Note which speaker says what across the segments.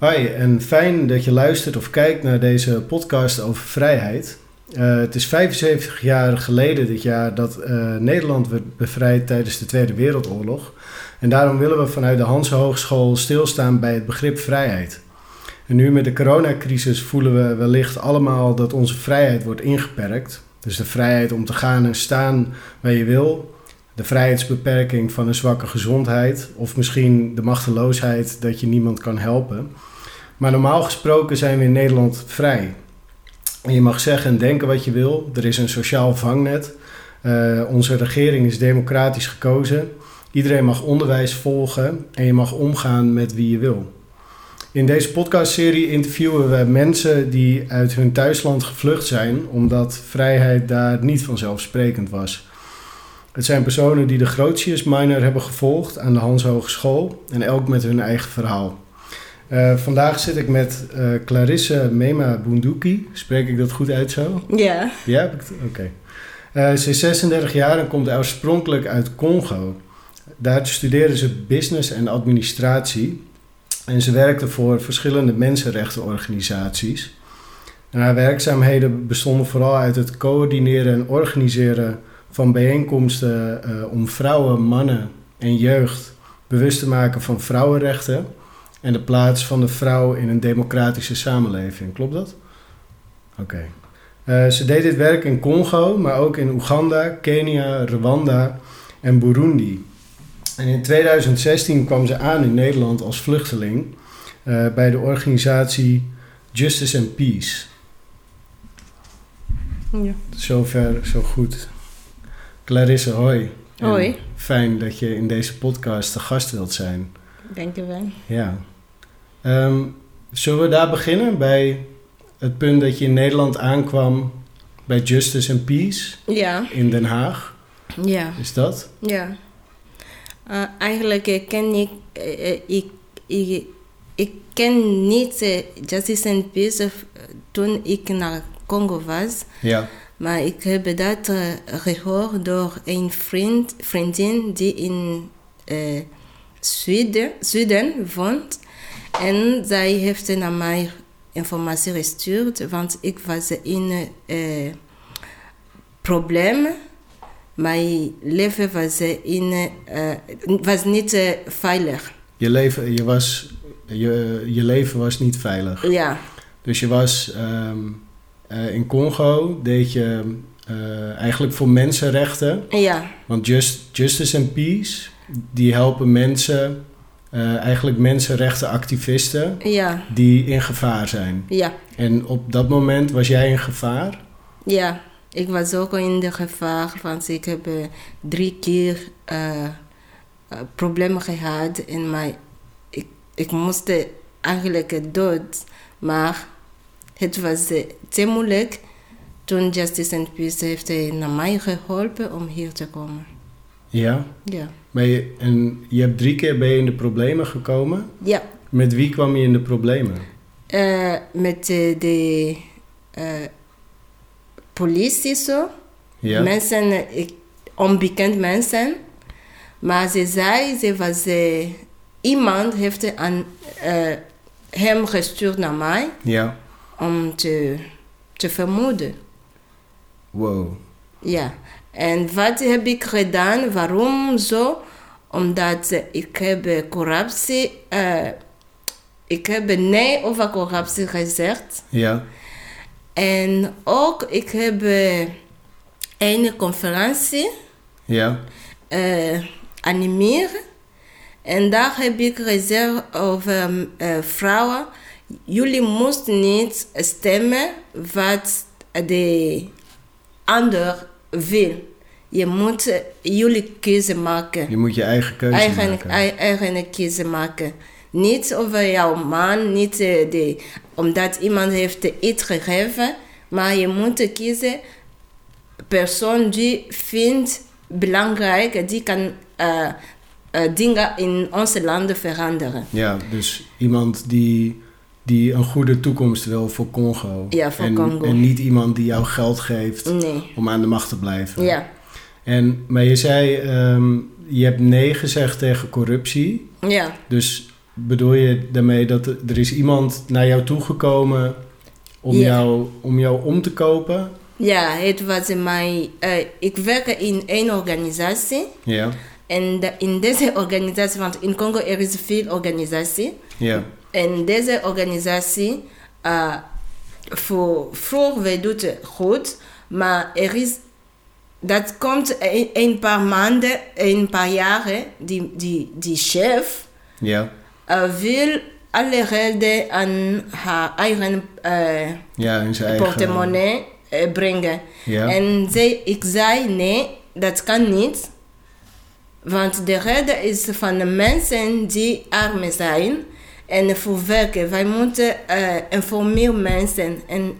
Speaker 1: Hi en fijn dat je luistert of kijkt naar deze podcast over vrijheid. Eh, het is 75 jaar geleden dit jaar dat eh, Nederland werd bevrijd tijdens de Tweede Wereldoorlog. En daarom willen we vanuit de Hanse Hogeschool stilstaan bij het begrip vrijheid. En nu met de coronacrisis voelen we wellicht allemaal dat onze vrijheid wordt ingeperkt. Dus de vrijheid om te gaan en staan waar je wil. De vrijheidsbeperking van een zwakke gezondheid. Of misschien de machteloosheid dat je niemand kan helpen. Maar normaal gesproken zijn we in Nederland vrij. En je mag zeggen en denken wat je wil. Er is een sociaal vangnet. Eh, onze regering is democratisch gekozen. Iedereen mag onderwijs volgen en je mag omgaan met wie je wil. In deze podcastserie interviewen we mensen die uit hun thuisland gevlucht zijn omdat vrijheid daar niet vanzelfsprekend was. Het zijn personen die de Grotius Minor hebben gevolgd aan de Hans Hogeschool en elk met hun eigen verhaal. Eh, vandaag zit ik met eh, Clarisse Mema Bounduki. Spreek ik dat goed uit zo?
Speaker 2: Ja.
Speaker 1: Ja, heb ik het? Oké. Eh, ze is 36 jaar en komt oorspronkelijk uit Congo. Daar studeerde ze business en administratie. En ze werkte voor verschillende mensenrechtenorganisaties. En haar werkzaamheden bestonden vooral uit het coördineren en organiseren van bijeenkomsten eh, om vrouwen, mannen en jeugd bewust te maken van vrouwenrechten en de plaats van de vrouw in een democratische samenleving. Klopt dat? Oké. Eh, ze deed dit werk in Congo, maar ook in Oeganda, Kenia, Rwanda en Burundi. En in 2016 kwam ze aan in Nederland als vluchteling eh, bij de organisatie Justice and Peace.
Speaker 2: ja.
Speaker 1: Zover, zo goed. Clarisse, hoi. En
Speaker 2: Hoi.
Speaker 1: Fijn dat je in deze podcast te gast wilt zijn.
Speaker 2: Denken wij.
Speaker 1: Ja. Ehm, zullen we daar beginnen bij het punt dat je in Nederland aankwam bij Justice and Peace
Speaker 2: Ja.
Speaker 1: in Den Haag?
Speaker 2: Ja.
Speaker 1: Is dat?
Speaker 2: Ja. Eh, eigenlijk eh, ken ik, eh, eh, ik, ik, ik ken niet eh, Justice and Peace eh, toen ik naar Congo was.
Speaker 1: Ja.
Speaker 2: Maar ik heb dat eh, gehoord door een vriend, vriendin die in eh, Zweden, Zweden woont. En zij heeft naar mij informatie gestuurd, want ik was in eh probleem. Mijn leven was, in, eh, was niet eh, veilig.
Speaker 1: Je leven, je, was, je, je leven was niet veilig.
Speaker 2: Ja,
Speaker 1: Dus je was ehm, eh, in Congo, deed je eh, eigenlijk voor mensenrechten.
Speaker 2: ja,
Speaker 1: Want Just, Justice and Peace, die helpen mensen, eh, eigenlijk mensenrechtenactivisten,
Speaker 2: ja,
Speaker 1: die in gevaar zijn.
Speaker 2: ja,
Speaker 1: En op dat moment was jij in gevaar?
Speaker 2: ja. Ik was ook in de gevaar, want ik heb eh, drie keer eh, eh, problemen gehad. En mijn, ik, ik moest eh, eigenlijk dood, maar het was eh, te moeilijk. Toen Justice and Peace heeft eh, naar mij geholpen om hier te komen.
Speaker 1: Ja.
Speaker 2: Ja,
Speaker 1: Ben je, en je hebt drie keer ben je in de problemen gekomen.
Speaker 2: ja.
Speaker 1: Met wie kwam je in de problemen?
Speaker 2: Eh, met eh, de eh, politie zo.
Speaker 1: Ja.
Speaker 2: Mensen, eh, ik, onbekend mensen. Maar ze zei, ze was, eh, iemand heeft aan, eh, hem gestuurd naar mij
Speaker 1: Ja.
Speaker 2: om te, te vermoeden.
Speaker 1: Wow.
Speaker 2: Ja. En wat heb ik gedaan? Waarom zo? Omdat eh, ik heb eh, corruptie, eh, ik heb nee over corruptie gezegd.
Speaker 1: Ja.
Speaker 2: En ook, ik heb eh, een conferentie
Speaker 1: Ja.
Speaker 2: eh animeren. En daar heb ik gezegd over eh, vrouwen. Jullie moesten niet stemmen wat de ander wil. Je moet eh, jullie keuze maken
Speaker 1: Je moet je eigen keuze
Speaker 2: eigen,
Speaker 1: maken.
Speaker 2: ei- eigen kiezen maken. Niet over jouw man, niet eh, de, omdat iemand heeft iets gegeven, maar je moet kiezen persoon die vindt belangrijk, die kan eh, eh, dingen in onze landen veranderen.
Speaker 1: Ja, dus iemand die, die een goede toekomst wil voor Congo.
Speaker 2: Ja, voor
Speaker 1: en,
Speaker 2: Congo.
Speaker 1: En niet iemand die jou geld geeft
Speaker 2: Nee.
Speaker 1: om aan de macht te blijven.
Speaker 2: Ja,
Speaker 1: En, maar je zei, ehm, je hebt nee gezegd tegen corruptie.
Speaker 2: ja,
Speaker 1: Dus bedoel je daarmee dat er er is iemand naar jou toegekomen om,
Speaker 2: Ja.
Speaker 1: jou, om jou om te kopen?
Speaker 2: Ja, het was mijn. eh, ik werk in één organisatie.
Speaker 1: Ja,
Speaker 2: En de- in deze organisatie, want in Congo er is veel organisatie.
Speaker 1: ja,
Speaker 2: En deze organisatie, eh, voor vroeg, we doen het goed. Maar er is, dat komt een, een paar maanden, een paar jaren, die, die, die chef
Speaker 1: ja.
Speaker 2: eh, wil alle gelden aan haar eigen eh,
Speaker 1: Ja, in zijn eigen...
Speaker 2: portemonnee eh, brengen.
Speaker 1: Ja.
Speaker 2: En zei, ik zei nee, dat kan niet. Want de reden is van de mensen die arm zijn en voor werken. Wij moeten eh informeren mensen. En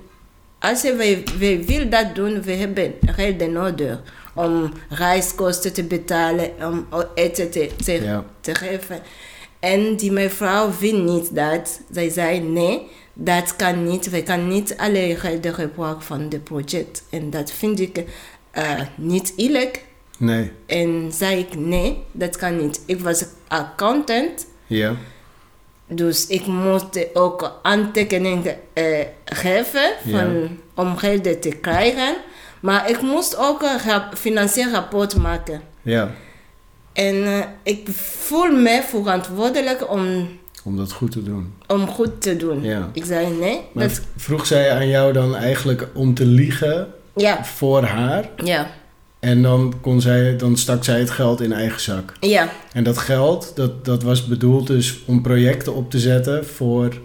Speaker 2: als wij, wij willen dat doen, we hebben reden nodig om reiskosten te betalen, om eten te, te,
Speaker 1: Ja.
Speaker 2: te geven. En die mevrouw wil niet dat. Zij zei nee, dat kan niet. We kunnen niet alle reden gebruiken van het project. En dat vind ik eh, niet eerlijk.
Speaker 1: Nee,
Speaker 2: En zei ik nee, dat kan niet. Ik was accountant,
Speaker 1: ja,
Speaker 2: dus ik moest ook aantekeningen eh, geven van, om geld te krijgen. Maar ik moest ook een rap- financieel rapport maken.
Speaker 1: ja.
Speaker 2: En eh, ik voel me verantwoordelijk om,
Speaker 1: Om dat goed te doen.
Speaker 2: om goed te doen.
Speaker 1: Ja.
Speaker 2: Ik zei nee.
Speaker 1: Maar
Speaker 2: dat,
Speaker 1: vroeg zij aan jou dan eigenlijk om te liegen
Speaker 2: ja,
Speaker 1: voor haar?
Speaker 2: ja,
Speaker 1: En dan, kon zij, dan stak zij het geld in eigen zak.
Speaker 2: ja,
Speaker 1: En dat geld, dat, dat was bedoeld dus om projecten op te zetten voor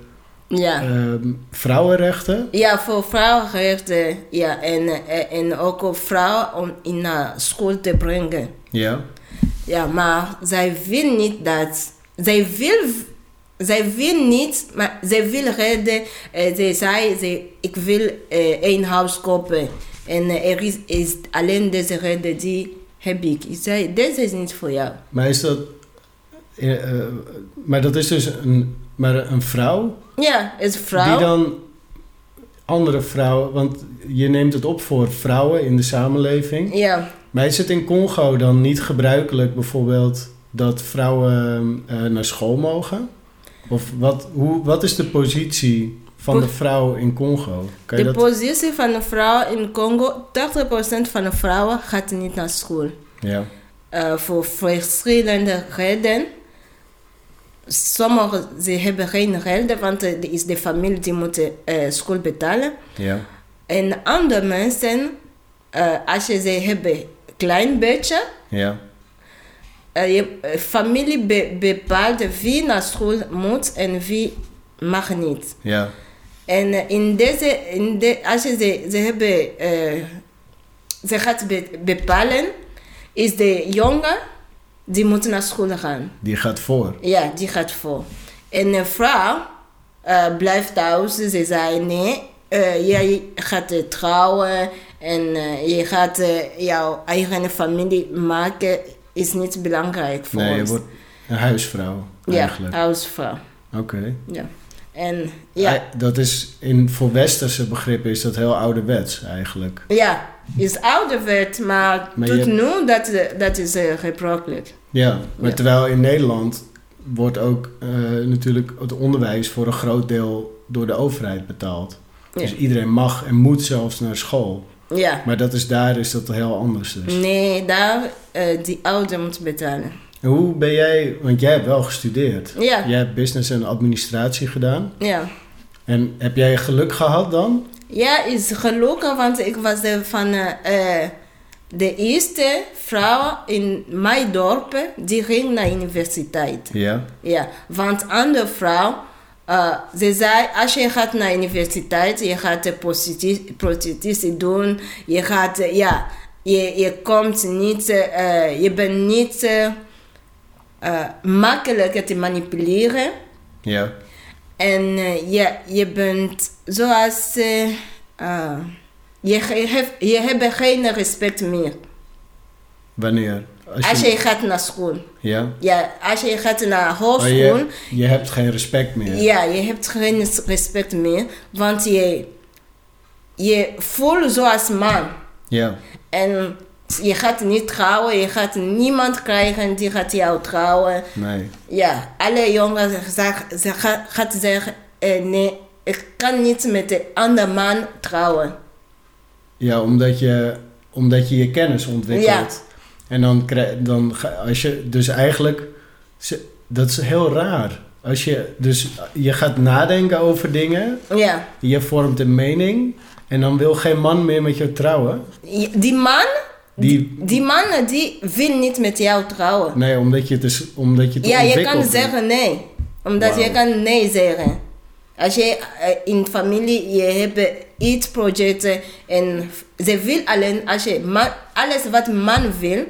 Speaker 2: ja.
Speaker 1: ehm, vrouwenrechten.
Speaker 2: Ja, voor vrouwenrechten. Ja, en, eh, en ook vrouwen om in naar school te brengen.
Speaker 1: Ja,
Speaker 2: Ja, maar zij wil niet dat. Zij wil, zij wil niet, maar zij wil redden. Eh, zij zei, ze- ik wil eh, een huis kopen. En eh, er is, is alleen deze reden die heb ik. Ik zei, deze is niet voor jou.
Speaker 1: maar is dat... eh, eh, maar dat is dus een, maar een vrouw
Speaker 2: Ja, het is vrouw.
Speaker 1: Die dan andere vrouwen, want je neemt het op voor vrouwen in de samenleving.
Speaker 2: Ja,
Speaker 1: Maar is het in Congo dan niet gebruikelijk bijvoorbeeld dat vrouwen eh, naar school mogen? Of wat, hoe, wat is de positie van de vrouw in Congo? Kan je
Speaker 2: de
Speaker 1: dat?
Speaker 2: positie van de vrouw in Congo, 80% van de vrouwen gaat niet naar school.
Speaker 1: Ja,
Speaker 2: eh, voor verschillende redenen. Sommigen ze hebben geen reden, want eh, er is de familie die moet eh, school betalen.
Speaker 1: ja,
Speaker 2: En andere mensen, eh, als je ze hebben een klein beetje,
Speaker 1: ja,
Speaker 2: eh, je eh, familie be- bepaalt wie naar school moet en wie mag niet.
Speaker 1: ja,
Speaker 2: En eh, in deze, in de, als je ze, ze hebben, eh, ze gaat be- bepalen, is de jongen die moet naar school gaan.
Speaker 1: die gaat voor.
Speaker 2: Ja, die gaat voor. En een vrouw eh, blijft thuis. Ze zei nee, eh, jij gaat eh, trouwen en eh, je gaat eh, jouw eigen familie maken. Is niet belangrijk voor
Speaker 1: Nee, je
Speaker 2: ons.
Speaker 1: wordt een huisvrouw
Speaker 2: ja,
Speaker 1: eigenlijk.
Speaker 2: huisvrouw.
Speaker 1: Oké.
Speaker 2: Ja. En ja.
Speaker 1: Eh, Dat is in voor westerse begrippen is dat heel ouderwets eigenlijk.
Speaker 2: Ja, is ouderwet, maar,
Speaker 1: Maar je-
Speaker 2: tot nu dat, dat is eh, gebruikelijk.
Speaker 1: Ja, maar
Speaker 2: Ja.
Speaker 1: terwijl in Nederland wordt ook eh, natuurlijk het onderwijs voor een groot deel door de overheid betaald.
Speaker 2: Ja.
Speaker 1: Dus iedereen mag en moet zelfs naar school.
Speaker 2: Ja.
Speaker 1: Maar dat is, daar is dat heel anders dus.
Speaker 2: Nee, daar eh, die ouder moet betalen.
Speaker 1: En hoe ben jij, want jij hebt wel gestudeerd.
Speaker 2: Ja, ja.
Speaker 1: Jij hebt business en administratie gedaan.
Speaker 2: ja.
Speaker 1: En heb jij geluk gehad dan?
Speaker 2: is gelukkig, want ik was eh, van eh, eh, de eerste vrouw in mijn dorp die ging naar universiteit.
Speaker 1: Ja,
Speaker 2: Ja, want andere vrouw, eh, ze zei, als je gaat naar universiteit, je gaat eh, prostitu- prostitutie doen, je gaat, eh, ja, je, je komt niet, eh, eh, je bent niet eh, eh, makkelijk te manipuleren.
Speaker 1: ja,
Speaker 2: En eh, ja, je bent zoals, eh, eh, je, ge- hef- je hebt geen respect meer
Speaker 1: wanneer?
Speaker 2: als je gaat naar school.
Speaker 1: ja.
Speaker 2: Ja, als je gaat naar
Speaker 1: Maar
Speaker 2: hogeschool...
Speaker 1: je, je hebt geen respect meer.
Speaker 2: Ja, je hebt geen respect meer, want je, je voelt zoals man.
Speaker 1: ja.
Speaker 2: En Je gaat niet trouwen, je gaat niemand krijgen die gaat jou trouwen.
Speaker 1: Nee.
Speaker 2: Ja, alle jongens zeggen- ze ga- gaat zeggen, eh, nee, ik kan niet met een ander man trouwen.
Speaker 1: Ja, omdat je, omdat je je kennis ontwikkelt. En dan krijg dan ga- als je dus eigenlijk ze- dat is heel raar. Als je dus je gaat nadenken over dingen,
Speaker 2: Ja,
Speaker 1: je vormt een mening en dan wil geen man meer met jou trouwen.
Speaker 2: Je- die man,
Speaker 1: Die,
Speaker 2: die man die wil niet met jou trouwen.
Speaker 1: nee, omdat je het is omdat je het
Speaker 2: Ja, je kan
Speaker 1: ontwikkelt.
Speaker 2: zeggen nee. Omdat je
Speaker 1: Wauw.
Speaker 2: kan nee zeggen. Als je eh, in familie, je hebt iets projecten en ze wil alleen, als je man, alles wat man wil,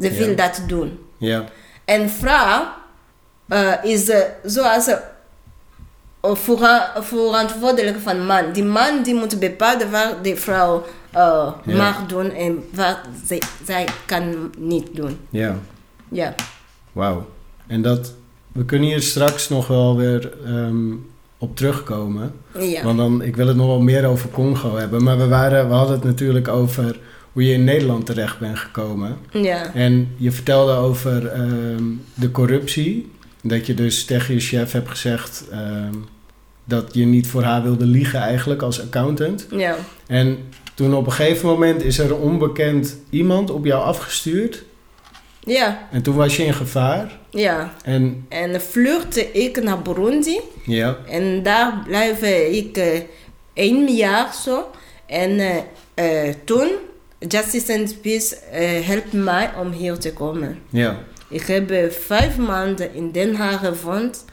Speaker 2: ze wil
Speaker 1: Ja.
Speaker 2: dat doen.
Speaker 1: Ja,
Speaker 2: En vrouw eh, is eh, zoals eh, voora- verantwoordelijk van man. Die man die moet bepalen wat de vrouw eh,
Speaker 1: Ja.
Speaker 2: mag doen en wat ze, zij kan niet doen.
Speaker 1: ja.
Speaker 2: Ja.
Speaker 1: Wauw. En dat, we kunnen hier straks nog wel weer ehm, op terugkomen.
Speaker 2: ja.
Speaker 1: Want dan, ik wil het nog wel meer over Congo hebben. Maar we, waren, we hadden het natuurlijk over hoe je in Nederland terecht bent gekomen.
Speaker 2: ja.
Speaker 1: En je vertelde over ehm, de corruptie. Dat je dus tegen je chef hebt gezegd ehm, dat je niet voor haar wilde liegen eigenlijk als accountant.
Speaker 2: Ja.
Speaker 1: En toen op een gegeven moment is er een onbekend iemand op jou afgestuurd.
Speaker 2: Ja,
Speaker 1: En toen was je in gevaar.
Speaker 2: ja.
Speaker 1: En
Speaker 2: En vluchtte ik naar Burundi.
Speaker 1: ja,
Speaker 2: En daar blijf ik eh, één jaar zo. En eh, eh, toen, Justice and Peace eh, helpt mij om hier te komen.
Speaker 1: ja,
Speaker 2: Ik heb eh, vijf maanden in Den Haag gewoond.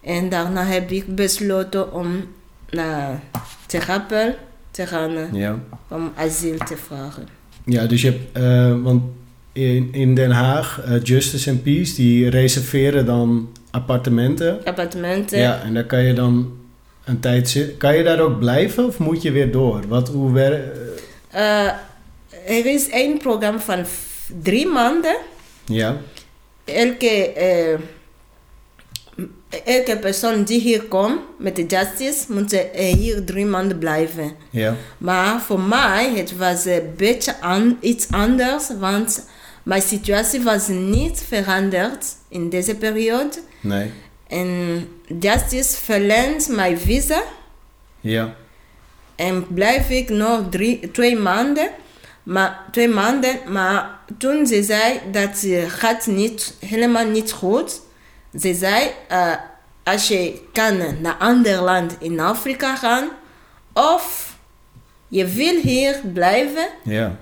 Speaker 2: En daarna heb ik besloten om naar Terapel te gaan eh,
Speaker 1: ja.
Speaker 2: om asiel te vragen.
Speaker 1: Ja, dus je hebt, eh, want in, in Den Haag, eh, Justice and Peace, die reserveren dan appartementen.
Speaker 2: Appartementen.
Speaker 1: Ja, en daar kan je dan een tijd zitten. Kan je daar ook blijven of moet je weer door? Wat, hoe wer- eh,
Speaker 2: Eh, er is één programma van v- drie maanden.
Speaker 1: ja,
Speaker 2: elke, eh, elke persoon die hier komt met de justice moet eh, hier drie maanden blijven.
Speaker 1: ja,
Speaker 2: Maar voor mij het was een beetje an, iets anders, want mijn situatie was niet veranderd in deze periode.
Speaker 1: nee,
Speaker 2: En justice verlengt mijn visa
Speaker 1: ja,
Speaker 2: en blijf ik nog drie, twee maanden. Maar, twee maanden, maar toen ze zei dat het gaat niet, helemaal niet goed. Ze zei, eh, als je kan naar een ander land in Afrika gaan, of je wil hier blijven,
Speaker 1: ja.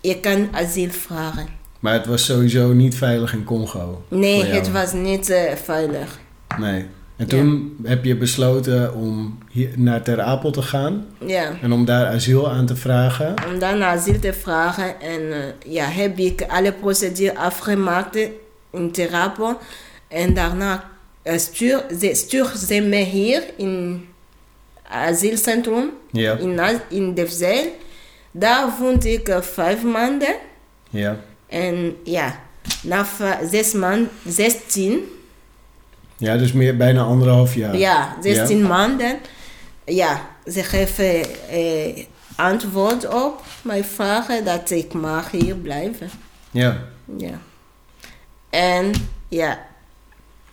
Speaker 2: je kan asiel vragen.
Speaker 1: Maar het was sowieso niet veilig in Congo.
Speaker 2: Nee,
Speaker 1: voor jou.
Speaker 2: het was niet eh, veilig.
Speaker 1: Nee. En toen heb je besloten om hier naar Ter Apel te gaan
Speaker 2: Ja.
Speaker 1: en om daar asiel aan te vragen.
Speaker 2: Om dan asiel te vragen en eh, ja, heb ik alle procedures afgemaakt in therapie. En daarna eh, stuur, ze, stuur ze me hier in asielcentrum
Speaker 1: Ja,
Speaker 2: in, Az- in Delfzijl. Daar vond ik eh, vijf maanden.
Speaker 1: ja,
Speaker 2: En ja, äh, na va- zes maanden, zestien,
Speaker 1: ja dus meer, bijna anderhalf jaar.
Speaker 2: ja, zestien
Speaker 1: Ja.
Speaker 2: maanden, ja, ze geven eh, antwoord op mijn vragen dat ik mag hier blijven.
Speaker 1: ja.
Speaker 2: Ja. En ja,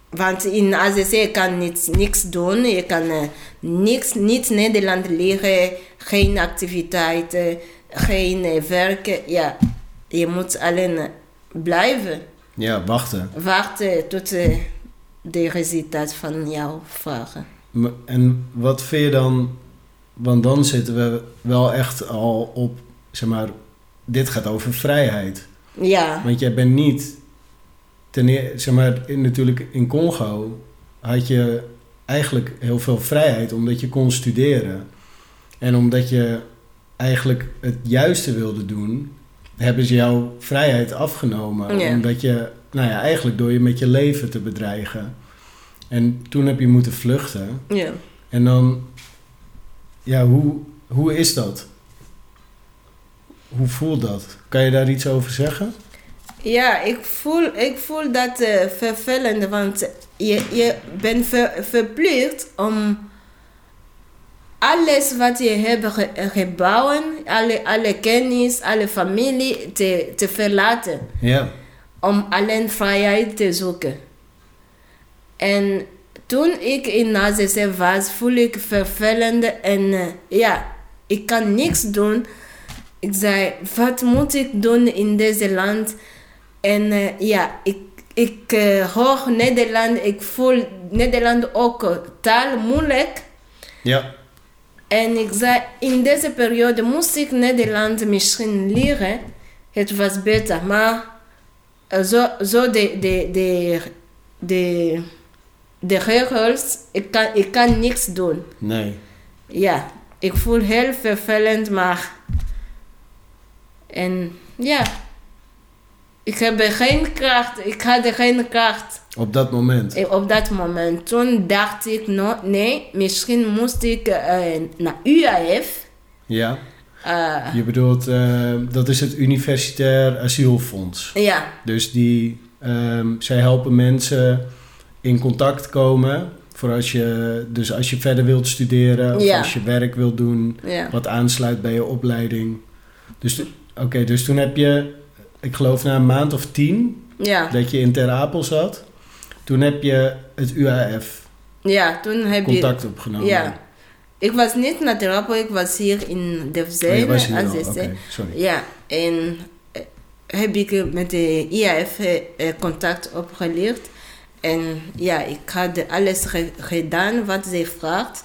Speaker 2: want in AZC je kan niet, niks doen, je kan eh, niks, niet Nederland leren, geen activiteiten, geen eh, werken. Ja, je moet alleen eh, blijven
Speaker 1: Ja, wachten.
Speaker 2: wachten tot eh, de resultaat van jouw vragen.
Speaker 1: M- En wat vind je dan? Want dan zitten we wel echt al op, zeg maar, dit gaat over vrijheid.
Speaker 2: Ja,
Speaker 1: Want jij bent niet, ten, eer- zeg maar, in, natuurlijk in Congo had je eigenlijk heel veel vrijheid omdat je kon studeren. En omdat je eigenlijk het juiste wilde doen, hebben ze jouw vrijheid afgenomen.
Speaker 2: Ja.
Speaker 1: Omdat je, nou ja, eigenlijk door je met je leven te bedreigen. En toen heb je moeten vluchten.
Speaker 2: ja.
Speaker 1: En dan, ja, hoe, hoe is dat? Hoe voelt dat? Kan je daar iets over zeggen?
Speaker 2: Ja, ik voel, ik voel dat eh, vervelend, want je, je bent ver- verplicht om alles wat je hebt ge- gebouwen, alle, alle kennis, alle familie te, te verlaten.
Speaker 1: Ja.
Speaker 2: Om alleen vrijheid te zoeken. En toen ik in Nazische was, voelde ik vervelend en eh, ja, ik kan niks doen. Ik zei, wat moet ik doen in deze land? En eh, ja, ik, ik eh, hoor Nederland, ik voel Nederland ook eh, taal moeilijk.
Speaker 1: Ja.
Speaker 2: En ik zei, in deze periode moest ik Nederland misschien leren. Het was beter, maar eh, zo, zo de, de, de, de, de regels, ik kan, ik kan niks doen.
Speaker 1: Nee.
Speaker 2: Ja, ik voel heel vervelend, maar... En ja, ik heb geen kracht, ik had geen kracht.
Speaker 1: Op dat moment.
Speaker 2: En op dat moment, toen dacht ik, no, nee, misschien moest ik eh, naar UAF.
Speaker 1: Ja.
Speaker 2: eh,
Speaker 1: Je bedoelt, eh, dat is het Universitair Asielfonds.
Speaker 2: ja,
Speaker 1: Dus die, ehm, zij helpen mensen in contact komen. Voor als je, dus als je verder wilt studeren of
Speaker 2: Ja.
Speaker 1: als je werk wilt doen,
Speaker 2: ja.
Speaker 1: wat aansluit bij je opleiding. Dus, de- oké, dus toen heb je, ik geloof na een maand of tien,
Speaker 2: Ja,
Speaker 1: dat je in Ter Apel zat. Toen heb je het UAF
Speaker 2: ja, toen heb
Speaker 1: contact
Speaker 2: je...
Speaker 1: opgenomen.
Speaker 2: Ja. Ik was niet naar Terapel, ik was hier in
Speaker 1: Oh, je
Speaker 2: Delfzijde.
Speaker 1: was hier
Speaker 2: als
Speaker 1: al.
Speaker 2: je
Speaker 1: Oké,
Speaker 2: zei.
Speaker 1: sorry.
Speaker 2: Ja, en eh, heb ik met de IAF eh, eh, contact opgeleerd. En ja, ik had alles ge- gedaan wat ze vraagt.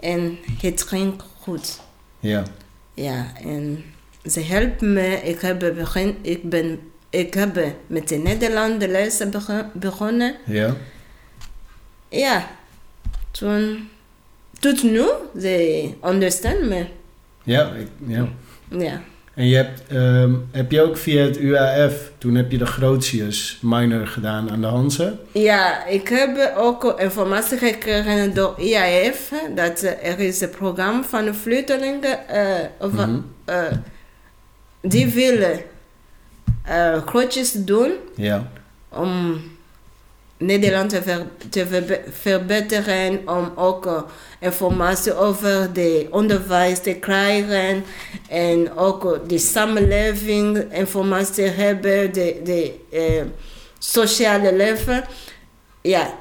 Speaker 2: En het ging goed.
Speaker 1: Ja,
Speaker 2: Ja, en ze helpt me. Ik heb, begin, ik ben, ik heb met de Nederlandse les begon- begonnen.
Speaker 1: ja.
Speaker 2: Ja, toen. Tot nu, ze understand me.
Speaker 1: Ja, ik- ja.
Speaker 2: Ja.
Speaker 1: En je hebt, ehm, heb je ook via het UAF, toen heb je de Grotius minor gedaan aan de Hanse.
Speaker 2: ja, ik heb ook informatie gekregen door IAF dat eh, er is een programma van de vluchtelingen eh, over,
Speaker 1: Mhm.
Speaker 2: eh, die willen eh groetjes doen
Speaker 1: Ja,
Speaker 2: om Nederland te, ver- te verbe- verbeteren, om ook eh, informatie over het onderwijs te krijgen en ook eh, de samenleving informatie te hebben, de, de eh, sociale leven. Ja,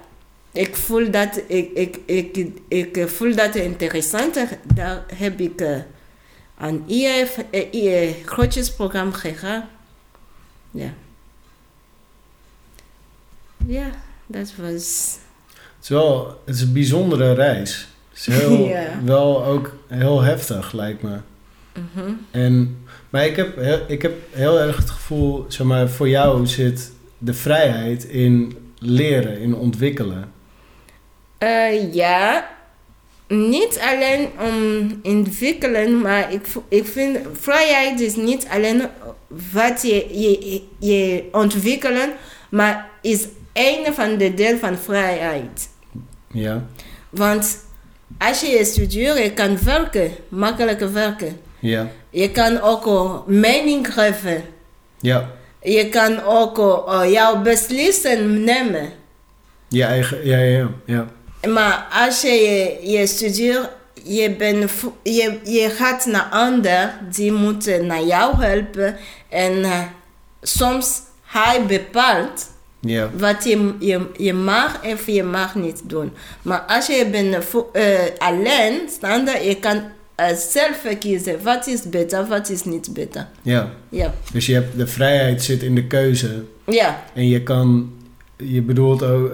Speaker 2: ik voel dat, ik, ik, ik, ik voel dat interessant. Daar heb ik eh, aan IF, eh, eh, grootjesprogramma gegaan. Ja. Ja, dat was.
Speaker 1: het is wel het is een bijzondere reis. Het is heel,
Speaker 2: Ja.
Speaker 1: wel ook heel heftig, lijkt me.
Speaker 2: Mhm.
Speaker 1: En, maar ik heb, heel- ik heb heel erg het gevoel, zeg maar, voor jou zit de vrijheid in leren, in ontwikkelen.
Speaker 2: Eh, ja, niet alleen om ontwikkelen, maar ik, vo- ik vind vrijheid is niet alleen wat je, je, je ontwikkelen, maar is een van de deel van vrijheid.
Speaker 1: Ja,
Speaker 2: Want als je studeert, je kan werken, makkelijk werken.
Speaker 1: ja,
Speaker 2: Je kan ook eh, mening geven.
Speaker 1: ja.
Speaker 2: Je kan ook eh, jouw beslissen nemen.
Speaker 1: Je eigen, ja, ja, ja, ja.
Speaker 2: Maar als je je, je studeert, je, bent vo- je, je gaat naar ander die moeten naar jou helpen. En eh, soms hij bepaalt
Speaker 1: ja.
Speaker 2: wat je, je, je mag of je mag niet doen. Maar als je bent vo- eh, alleen, standaard, je kan eh, zelf kiezen wat is beter, wat is niet beter.
Speaker 1: ja.
Speaker 2: Ja,
Speaker 1: Dus je hebt, de vrijheid zit in de keuze.
Speaker 2: ja,
Speaker 1: En je kan, je bedoelt ook,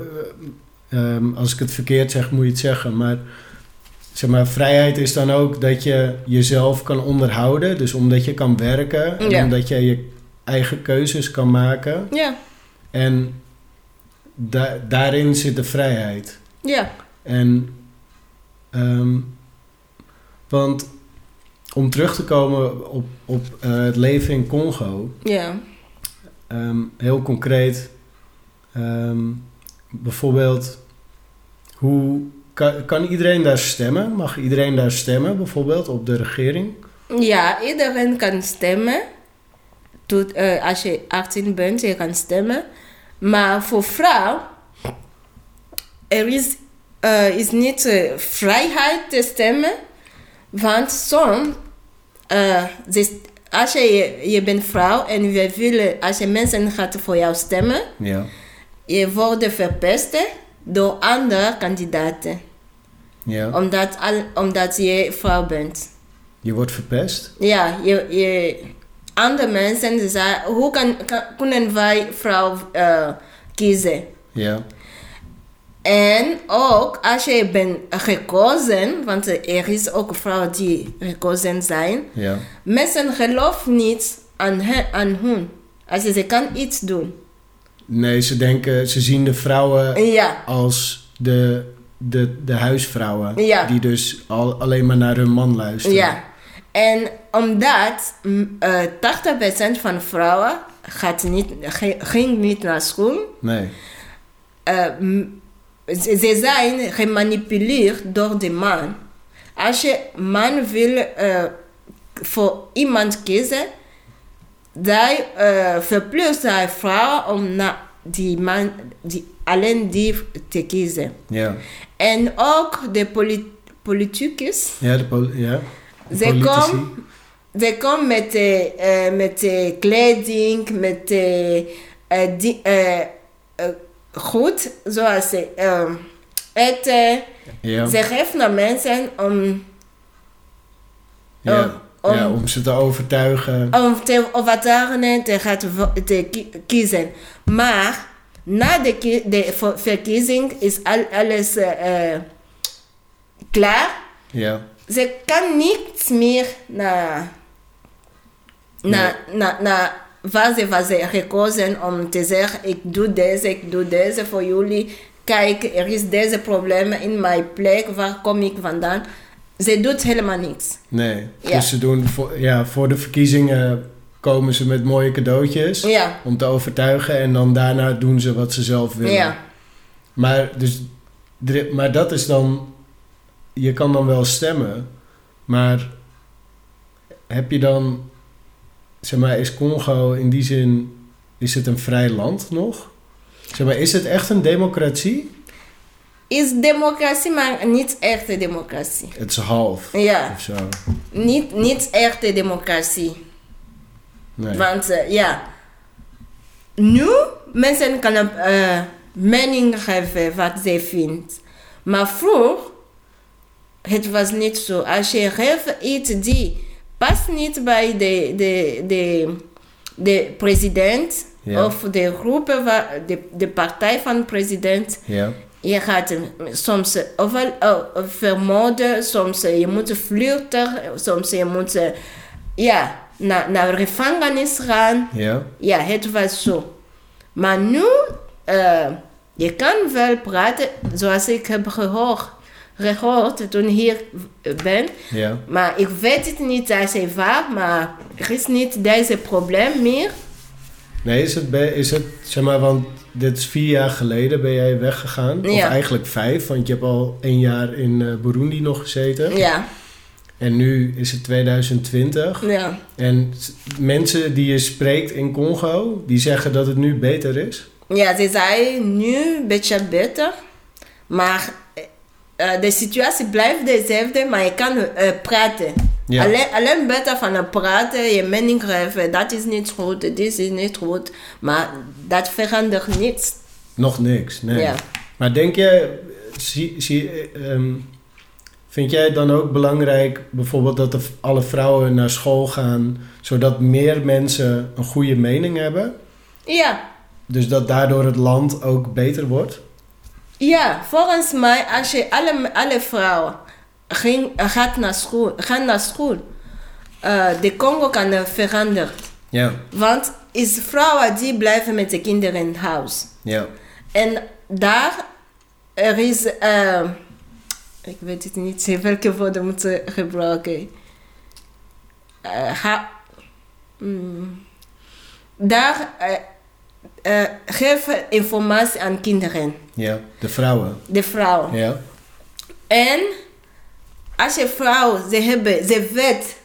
Speaker 1: eh, ehm, als ik het verkeerd zeg, moet je het zeggen. Maar zeg maar, vrijheid is dan ook dat je jezelf kan onderhouden. Dus omdat je kan werken en
Speaker 2: Ja.
Speaker 1: omdat je je eigen keuzes kan maken.
Speaker 2: ja,
Speaker 1: En da- daarin zit de vrijheid.
Speaker 2: ja.
Speaker 1: En, ehm, want om terug te komen op, op eh, het leven in Congo.
Speaker 2: ja.
Speaker 1: Ehm, heel concreet, ehm, bijvoorbeeld, hoe kan, kan iedereen daar stemmen? Mag iedereen daar stemmen, bijvoorbeeld, op de regering?
Speaker 2: Ja, iedereen kan stemmen. Tot, eh, als je 18 bent, je kan stemmen. Maar voor vrouw, er is, eh, is niet eh, vrijheid te stemmen. Want soms, eh, ze- als je, je bent vrouw en we willen, als je mensen gaat voor jou stemmen,
Speaker 1: Ja.
Speaker 2: je wordt verpest door andere kandidaten.
Speaker 1: ja.
Speaker 2: Omdat, al, omdat je vrouw bent.
Speaker 1: Je wordt verpest.
Speaker 2: Ja, je, je, andere mensen ze zeggen, hoe kan, kan- kunnen wij vrouw eh, kiezen?
Speaker 1: Ja.
Speaker 2: En ook als je bent gekozen, want er is ook vrouwen die gekozen zijn.
Speaker 1: Ja.
Speaker 2: Mensen geloven niet aan, hen, aan hun. Als je ze kan iets doen.
Speaker 1: Nee, ze denken, ze zien de vrouwen
Speaker 2: Ja,
Speaker 1: als de, de, de huisvrouwen.
Speaker 2: Ja.
Speaker 1: Die dus al, alleen maar naar hun man luisteren.
Speaker 2: ja. En omdat mm, eh, 80% van vrouwen gaat niet, ge- ging niet naar school.
Speaker 1: Nee.
Speaker 2: eh, m- ze ze zijn gemanipuleerd door de man. Als je man wil eh, voor iemand kiezen, dan eh verplicht hij vrouw om naar die man, die, alleen die te kiezen.
Speaker 1: Ja.
Speaker 2: En ook de polit politicus,
Speaker 1: Ja, de, pol- ja. de
Speaker 2: ze
Speaker 1: politici.
Speaker 2: komen ze kom met, eh, eh, met eh, kleding, met eh, eh, di- eh, eh, goed, zoals ze eh, eten.
Speaker 1: Ja.
Speaker 2: Ze geven naar mensen om,
Speaker 1: Ja.
Speaker 2: oh, om- Oh.
Speaker 1: ja, om ze te overtuigen.
Speaker 2: om te overtuigen te, gaan vo- te ki- kiezen. Maar na de, ki- de vo- verkiezing is al, alles eh, eh, klaar.
Speaker 1: Ja.
Speaker 2: ze kan niets meer naar, naar, naar, naar waar ze was gekozen om te zeggen, ik doe deze, ik doe deze voor jullie. Kijk, er is deze probleem in mijn plek, waar kom ik vandaan? Ze doet helemaal niets.
Speaker 1: Nee.
Speaker 2: Ja.
Speaker 1: Dus ze doen voor, ja, voor de verkiezingen komen ze met mooie cadeautjes.
Speaker 2: Ja,
Speaker 1: Om te overtuigen. En dan daarna doen ze wat ze zelf willen.
Speaker 2: ja,
Speaker 1: Maar, dus, er- maar dat is dan. Je kan dan wel stemmen, maar heb je dan. Zeg maar, is Congo in die zin. Is het een vrij land nog? Zeg maar, is het echt een democratie?
Speaker 2: is democratie, maar niet echte democratie.
Speaker 1: Het is half
Speaker 2: Ja,
Speaker 1: of zo.
Speaker 2: niet, niet echte democratie.
Speaker 1: Nee.
Speaker 2: Want eh, ja, nu mensen kunnen eh mening geven wat ze vinden. Maar vroeger, het was niet zo. Als je geeft iets die past niet bij de, de, de, de president
Speaker 1: Ja.
Speaker 2: of de groepen, waar- de, de partij van de president,
Speaker 1: Ja,
Speaker 2: je gaat eh, soms eh, ofwel eh, vermoorden, soms eh, je moet flirten, soms je moet eh, ja, naar, naar de gevangenis gaan.
Speaker 1: ja,
Speaker 2: Ja, het was zo. Maar nu, eh, je kan wel praten zoals ik heb gehoord, gehoord toen ik hier eh, ben.
Speaker 1: ja.
Speaker 2: Maar ik weet het niet als je waar, maar er is niet deze probleem meer.
Speaker 1: Nee, is het, be- is het. Zeg maar, want dit is vier jaar geleden ben jij weggegaan. Of
Speaker 2: Ja.
Speaker 1: eigenlijk vijf, want je hebt al één jaar in eh, Burundi nog gezeten.
Speaker 2: Ja,
Speaker 1: En nu is het 2020.
Speaker 2: ja.
Speaker 1: En s- mensen die je spreekt in Congo, die zeggen dat het nu beter is.
Speaker 2: Ja, ze zijn nu een beetje beter. Maar eh, de situatie blijft dezelfde, maar je kan eh, praten.
Speaker 1: Ja.
Speaker 2: Alleen, alleen beter van het praten, je mening geven. Dat is niet goed, dit is niet goed. Maar dat verandert niets.
Speaker 1: Nog niks, nee.
Speaker 2: Ja.
Speaker 1: Maar denk jij, zie, zie, eh, ehm, vind jij het dan ook belangrijk bijvoorbeeld dat de v- alle vrouwen naar school gaan, zodat meer mensen een goede mening hebben?
Speaker 2: Ja,
Speaker 1: Dus dat daardoor het land ook beter wordt?
Speaker 2: ja volgens mij, als je alle, alle vrouwen ging, gaat naar school, gaan naar school, eh, de Congo kan eh, veranderen.
Speaker 1: Ja,
Speaker 2: Want is vrouwen die blijven met de kinderen in huis.
Speaker 1: ja,
Speaker 2: En daar, er is, eh, ik weet het niet, welke woorden moeten gebruiken. Eh, ha- mm. daar eh, eh, geven informatie aan kinderen,
Speaker 1: ja. De vrouwen.
Speaker 2: de vrouwen.
Speaker 1: Ja,
Speaker 2: En als je vrouw, ze, hebben, ze weet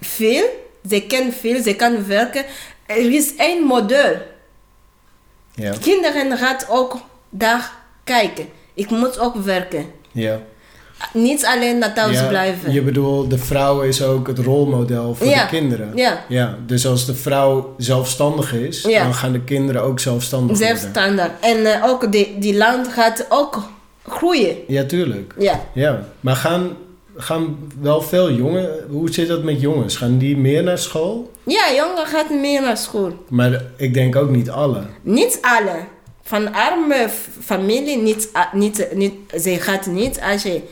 Speaker 2: veel, ze kent veel, ze kan werken. Er is één model.
Speaker 1: ja,
Speaker 2: Kinderen gaat ook daar kijken. Ik moet ook werken.
Speaker 1: ja.
Speaker 2: niet alleen naar thuis
Speaker 1: Ja,
Speaker 2: blijven.
Speaker 1: Je bedoelt, de vrouw is ook het rolmodel voor
Speaker 2: Ja,
Speaker 1: de kinderen.
Speaker 2: ja.
Speaker 1: dus als de vrouw zelfstandig is,
Speaker 2: Ja.
Speaker 1: dan gaan de kinderen ook zelfstandig worden.
Speaker 2: Zelfstandig. En eh, ook die, die land gaat ook groeien.
Speaker 1: Ja, tuurlijk.
Speaker 2: Ja.
Speaker 1: Ja, maar gaan, gaan wel veel jongen... Hoe zit dat met jongens? Gaan die meer naar school?
Speaker 2: ja, jongen gaat meer naar school.
Speaker 1: Maar ik denk ook niet alle.
Speaker 2: Niet alle. Van arme f- familie, niet, a- niet, niet, ze gaat niet als je,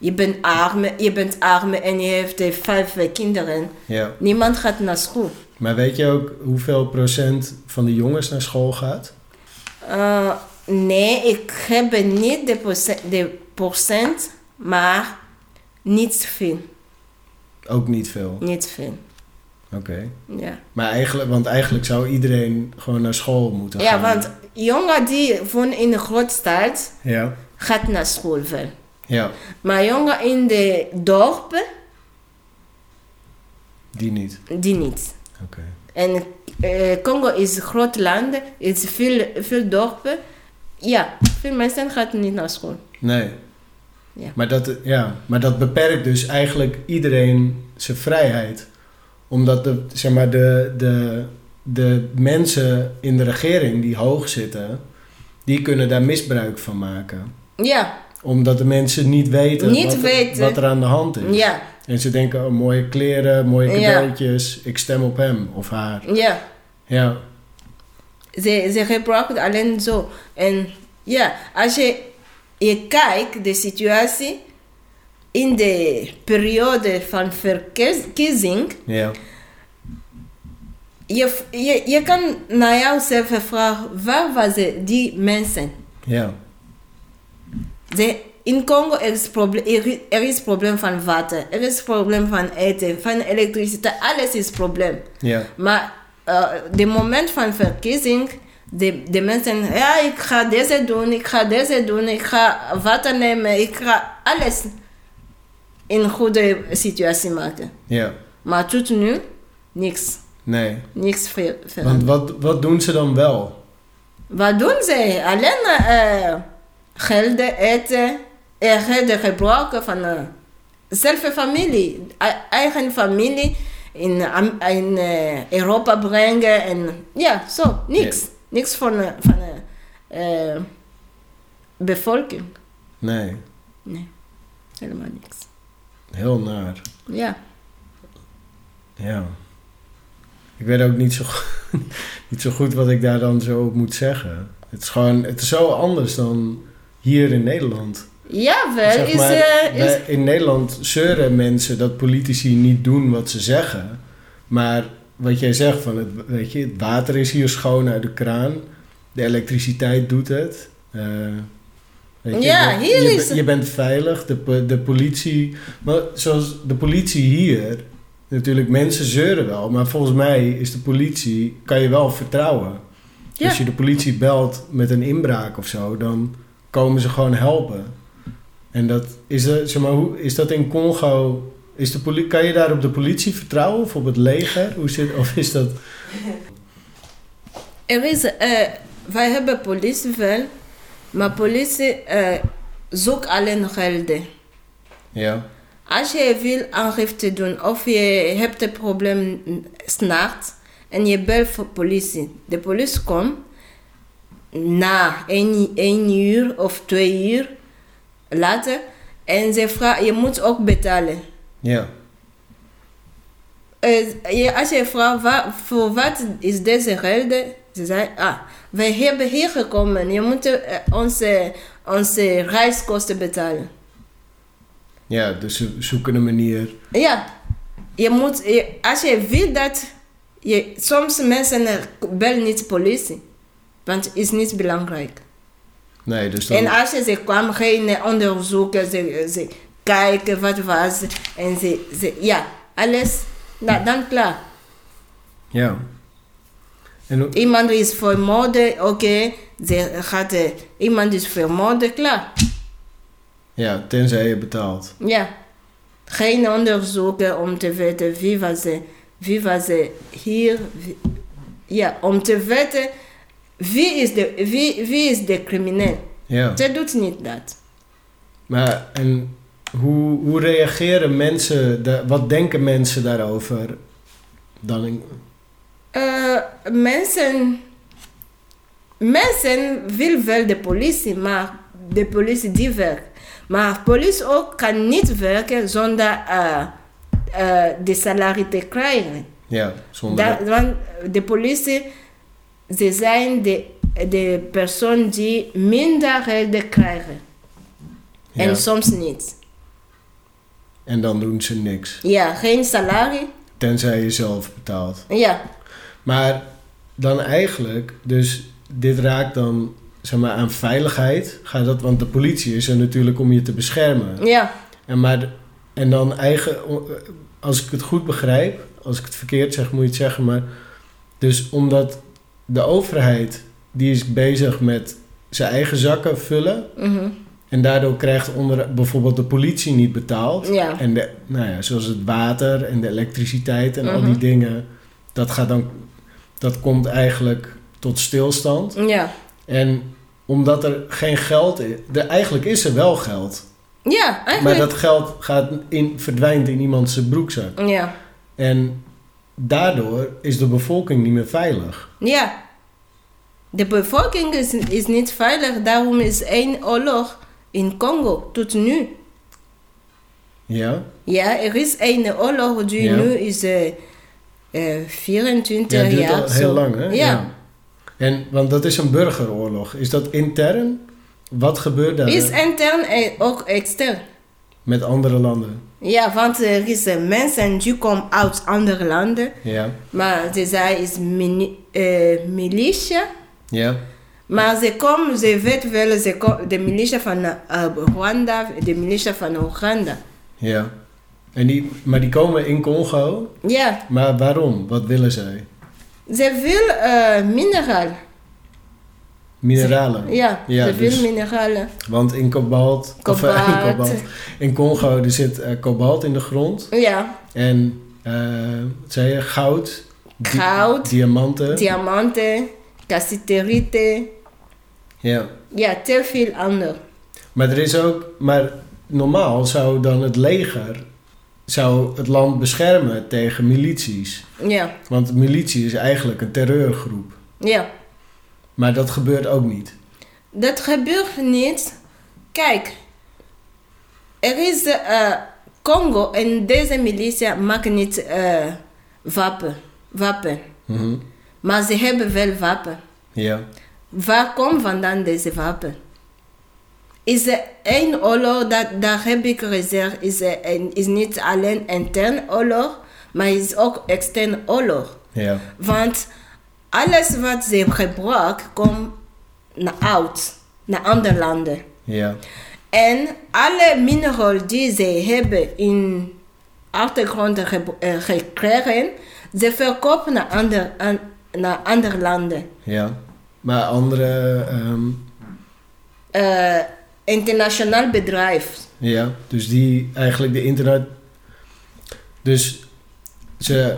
Speaker 2: je bent arme, je bent arme en je heeft eh, vijf eh, kinderen.
Speaker 1: Ja.
Speaker 2: Niemand gaat naar school.
Speaker 1: Maar weet je ook hoeveel procent van de jongens naar school gaat?
Speaker 2: Eh, nee, ik heb niet de procent, de procent maar niet veel.
Speaker 1: Ook niet veel.
Speaker 2: Niet veel.
Speaker 1: Oké.
Speaker 2: Ja.
Speaker 1: Maar eigenlijk, want eigenlijk zou iedereen gewoon naar school moeten
Speaker 2: Ja,
Speaker 1: gaan.
Speaker 2: want jongen die woont in een grote stad,
Speaker 1: Ja,
Speaker 2: gaat naar school wel.
Speaker 1: ja,
Speaker 2: Maar jongen in de dorpen,
Speaker 1: die niet.
Speaker 2: die niet.
Speaker 1: Oké.
Speaker 2: En eh, Congo is een groot land, is veel, veel dorpen. Ja, veel mensen gaan niet naar school.
Speaker 1: Nee.
Speaker 2: Ja.
Speaker 1: Maar, dat, ja, maar dat beperkt dus eigenlijk iedereen zijn vrijheid. Omdat de, zeg maar, de, de, de mensen in de regering die hoog zitten, die kunnen daar misbruik van maken.
Speaker 2: Ja,
Speaker 1: Omdat de mensen niet weten,
Speaker 2: Niet
Speaker 1: wat,
Speaker 2: weten.
Speaker 1: wat er aan de hand is.
Speaker 2: ja,
Speaker 1: En ze denken, oh, mooie kleren, mooie
Speaker 2: Ja.
Speaker 1: cadeautjes, ik stem op hem of haar.
Speaker 2: ja.
Speaker 1: Ja,
Speaker 2: Ze, ze gebruiken alleen zo. En ja, als je, je kijkt de situatie in de periode van verkiezing,
Speaker 1: ja,
Speaker 2: je, je, je kan naar jouzelf vragen, waar waren die mensen?
Speaker 1: ja.
Speaker 2: Ze, in Congo er is, proble- er, is- er is probleem van water, er is probleem van eten, van elektriciteit, alles is probleem.
Speaker 1: ja.
Speaker 2: Maar eh, de moment van verkiezing, de, de mensen, ja, ik ga deze doen, ik ga deze doen, ik ga water nemen, ik ga alles in een goede situatie maken.
Speaker 1: Ja,
Speaker 2: Maar tot nu, niks.
Speaker 1: nee.
Speaker 2: Niks ver-
Speaker 1: Want
Speaker 2: veranderd.
Speaker 1: wat, wat doen ze dan wel?
Speaker 2: Wat doen ze? Alleen eh gelden eh, eten en gelden gebruiken van eh, zelf een familie, e- eigen familie in, Am- in eh, Europa brengen en ja, zo, niks.
Speaker 1: Ja.
Speaker 2: Niks van de van, eh, eh, bevolking.
Speaker 1: Nee,
Speaker 2: Nee, helemaal niks.
Speaker 1: heel naar.
Speaker 2: Ja,
Speaker 1: Ja. Ik weet ook niet zo, go- niet zo goed wat ik daar dan zo op moet zeggen. Het is gewoon, het is zo anders dan hier in Nederland.
Speaker 2: ja wel,
Speaker 1: Zeg
Speaker 2: is,
Speaker 1: maar,
Speaker 2: eh, is,
Speaker 1: wij- in Nederland zeuren mensen dat politici niet doen wat ze zeggen. Maar wat jij zegt, van het, weet je, het water is hier schoon uit de kraan. De elektriciteit doet het. Eh, weet je,
Speaker 2: Ja,
Speaker 1: de-
Speaker 2: hier
Speaker 1: je,
Speaker 2: is-
Speaker 1: ben- Je bent veilig, de, po- de politie... Maar zoals de politie hier... Natuurlijk, mensen zeuren wel. Maar volgens mij is de politie... Kan je wel vertrouwen.
Speaker 2: ja.
Speaker 1: Als je de politie belt met een inbraak of zo, dan komen ze gewoon helpen. En dat is, er, zeg maar, hoe, is dat in Congo? Is de poli- kan je daar op de politie vertrouwen of op het leger? Hoe zit, of is dat.
Speaker 2: Er is, eh, wij hebben politie wel, maar politie eh, zoekt alleen gelden.
Speaker 1: Ja,
Speaker 2: Als je wil aangifte doen of je hebt een probleem s'nachts en je belt voor politie, de politie komt na één, één uur of twee uur later en ze vragen, je moet ook betalen.
Speaker 1: ja,
Speaker 2: Eh, je- als je vraagt wa- voor wat is deze gelden, ze zei, ah, wij hebben hier gekomen, je moet eh, onze, onze reiskosten betalen.
Speaker 1: ja, dus ze zoeken een manier.
Speaker 2: Ja, je moet, je- als je wil dat, je, soms mensen eh, bellen niet politie, want het is niet belangrijk.
Speaker 1: Nee, dus dan.
Speaker 2: En als je ze kwam, geen eh, onderzoeken, ze, ze kijken wat was, en ze, ze ja, alles, nou, dan klaar.
Speaker 1: Ja. En, hoe-
Speaker 2: Iemand is vermoord, oké, ze gaat, eh, iemand is vermoord, klaar.
Speaker 1: ja, tenzij je betaalt.
Speaker 2: Ja. Geen onderzoeken om te weten wie was, eh, wie was eh, hier. wie- ja, om te weten wie is de, wie, wie is de crimineel.
Speaker 1: Ja.
Speaker 2: Ze doet niet dat.
Speaker 1: Maar en Hoe, hoe reageren mensen, da- wat denken mensen daarover? Dan in-
Speaker 2: Eh, mensen, mensen wil wel de politie, maar de politie die werkt. Maar politie ook kan niet werken zonder eh, eh, de salaris te krijgen.
Speaker 1: ja, zonder...
Speaker 2: Da- want de politie, ze zijn de, de persoon die minder geld krijgen.
Speaker 1: ja.
Speaker 2: En soms niet.
Speaker 1: en dan doen ze niks.
Speaker 2: Ja, geen salaris.
Speaker 1: Tenzij je zelf betaalt.
Speaker 2: Ja,
Speaker 1: Maar dan eigenlijk, dus dit raakt dan zeg maar, aan veiligheid. Gaat dat, want de politie is er natuurlijk om je te beschermen.
Speaker 2: ja.
Speaker 1: En, maar, en dan eigen, als ik het goed begrijp, als ik het verkeerd zeg, moet je het zeggen. Maar dus omdat de overheid, die is bezig met zijn eigen zakken vullen.
Speaker 2: mhm,
Speaker 1: En daardoor krijgt onder, bijvoorbeeld de politie niet betaald.
Speaker 2: ja.
Speaker 1: En de, nou ja, zoals het water en de elektriciteit en al
Speaker 2: Mhm.
Speaker 1: die dingen, dat, gaat dan, dat komt eigenlijk tot stilstand.
Speaker 2: Ja.
Speaker 1: En omdat er geen geld is, er, eigenlijk is er wel geld,
Speaker 2: Ja,
Speaker 1: maar
Speaker 2: eigenlijk.
Speaker 1: dat geld gaat in, verdwijnt in iemands zijn broekzak.
Speaker 2: Ja.
Speaker 1: En daardoor is de bevolking niet meer veilig.
Speaker 2: Ja. De bevolking is, is niet veilig, daarom is één oorlog in Congo tot nu.
Speaker 1: Ja,
Speaker 2: Ja, er is één oorlog die
Speaker 1: Ja.
Speaker 2: nu is eh, eh, 24
Speaker 1: ja het duurt
Speaker 2: jaar.
Speaker 1: al heel
Speaker 2: zo.
Speaker 1: lang, hè?
Speaker 2: Ja.
Speaker 1: En, want dat is een burgeroorlog. Is dat intern? Wat gebeurt daar
Speaker 2: Is intern en ook extern.
Speaker 1: met andere landen?
Speaker 2: Ja, want er is eh, mensen die komen uit andere landen,
Speaker 1: Ja,
Speaker 2: maar ze zijn is mini- eh, militia.
Speaker 1: ja.
Speaker 2: Maar ze komen, ze weten wel, ze ko- de militia van eh, Rwanda, de militia van Oeganda.
Speaker 1: Ja. En die, maar die komen in Congo.
Speaker 2: Ja.
Speaker 1: Maar waarom? Wat willen zij?
Speaker 2: Ze wil eh, mineralen.
Speaker 1: Mineralen.
Speaker 2: Ja,
Speaker 1: Ja,
Speaker 2: ze
Speaker 1: dus-
Speaker 2: wil mineralen.
Speaker 1: Want in kobalt, of
Speaker 2: Kobalt.
Speaker 1: eh, in, kobalt, in Congo er zit eh, kobalt in de grond.
Speaker 2: Ja,
Speaker 1: En eh wat zei je? Goud. di-
Speaker 2: Goud.
Speaker 1: Diamanten.
Speaker 2: diamanten, cassiterite.
Speaker 1: ja.
Speaker 2: Ja, te veel ander.
Speaker 1: Maar er is ook... Maar normaal zou dan het leger zou het land beschermen tegen milities.
Speaker 2: Ja,
Speaker 1: Want militie is eigenlijk een terreurgroep.
Speaker 2: ja.
Speaker 1: Maar dat gebeurt ook niet.
Speaker 2: Dat gebeurt niet. Kijk, er is eh, Congo en deze militia maken niet eh wapen. wapen.
Speaker 1: Mhm.
Speaker 2: Maar ze hebben wel wapen.
Speaker 1: Ja.
Speaker 2: Waar komt vandaan deze wapen? Is er één oorlog, dat, daar heb ik gezegd, is, er een, is niet alleen intern oorlog, maar is ook extern oorlog.
Speaker 1: Ja.
Speaker 2: Want alles wat ze gebruiken, komt naar uit, naar andere landen.
Speaker 1: Ja.
Speaker 2: En alle mineralen die ze hebben in achtergrond ge- eh, gekregen, ze verkopen naar andere, aan, naar andere landen.
Speaker 1: Ja, maar andere, ehm,
Speaker 2: eh, internationaal bedrijf.
Speaker 1: ja, dus die eigenlijk de internet, dus ze,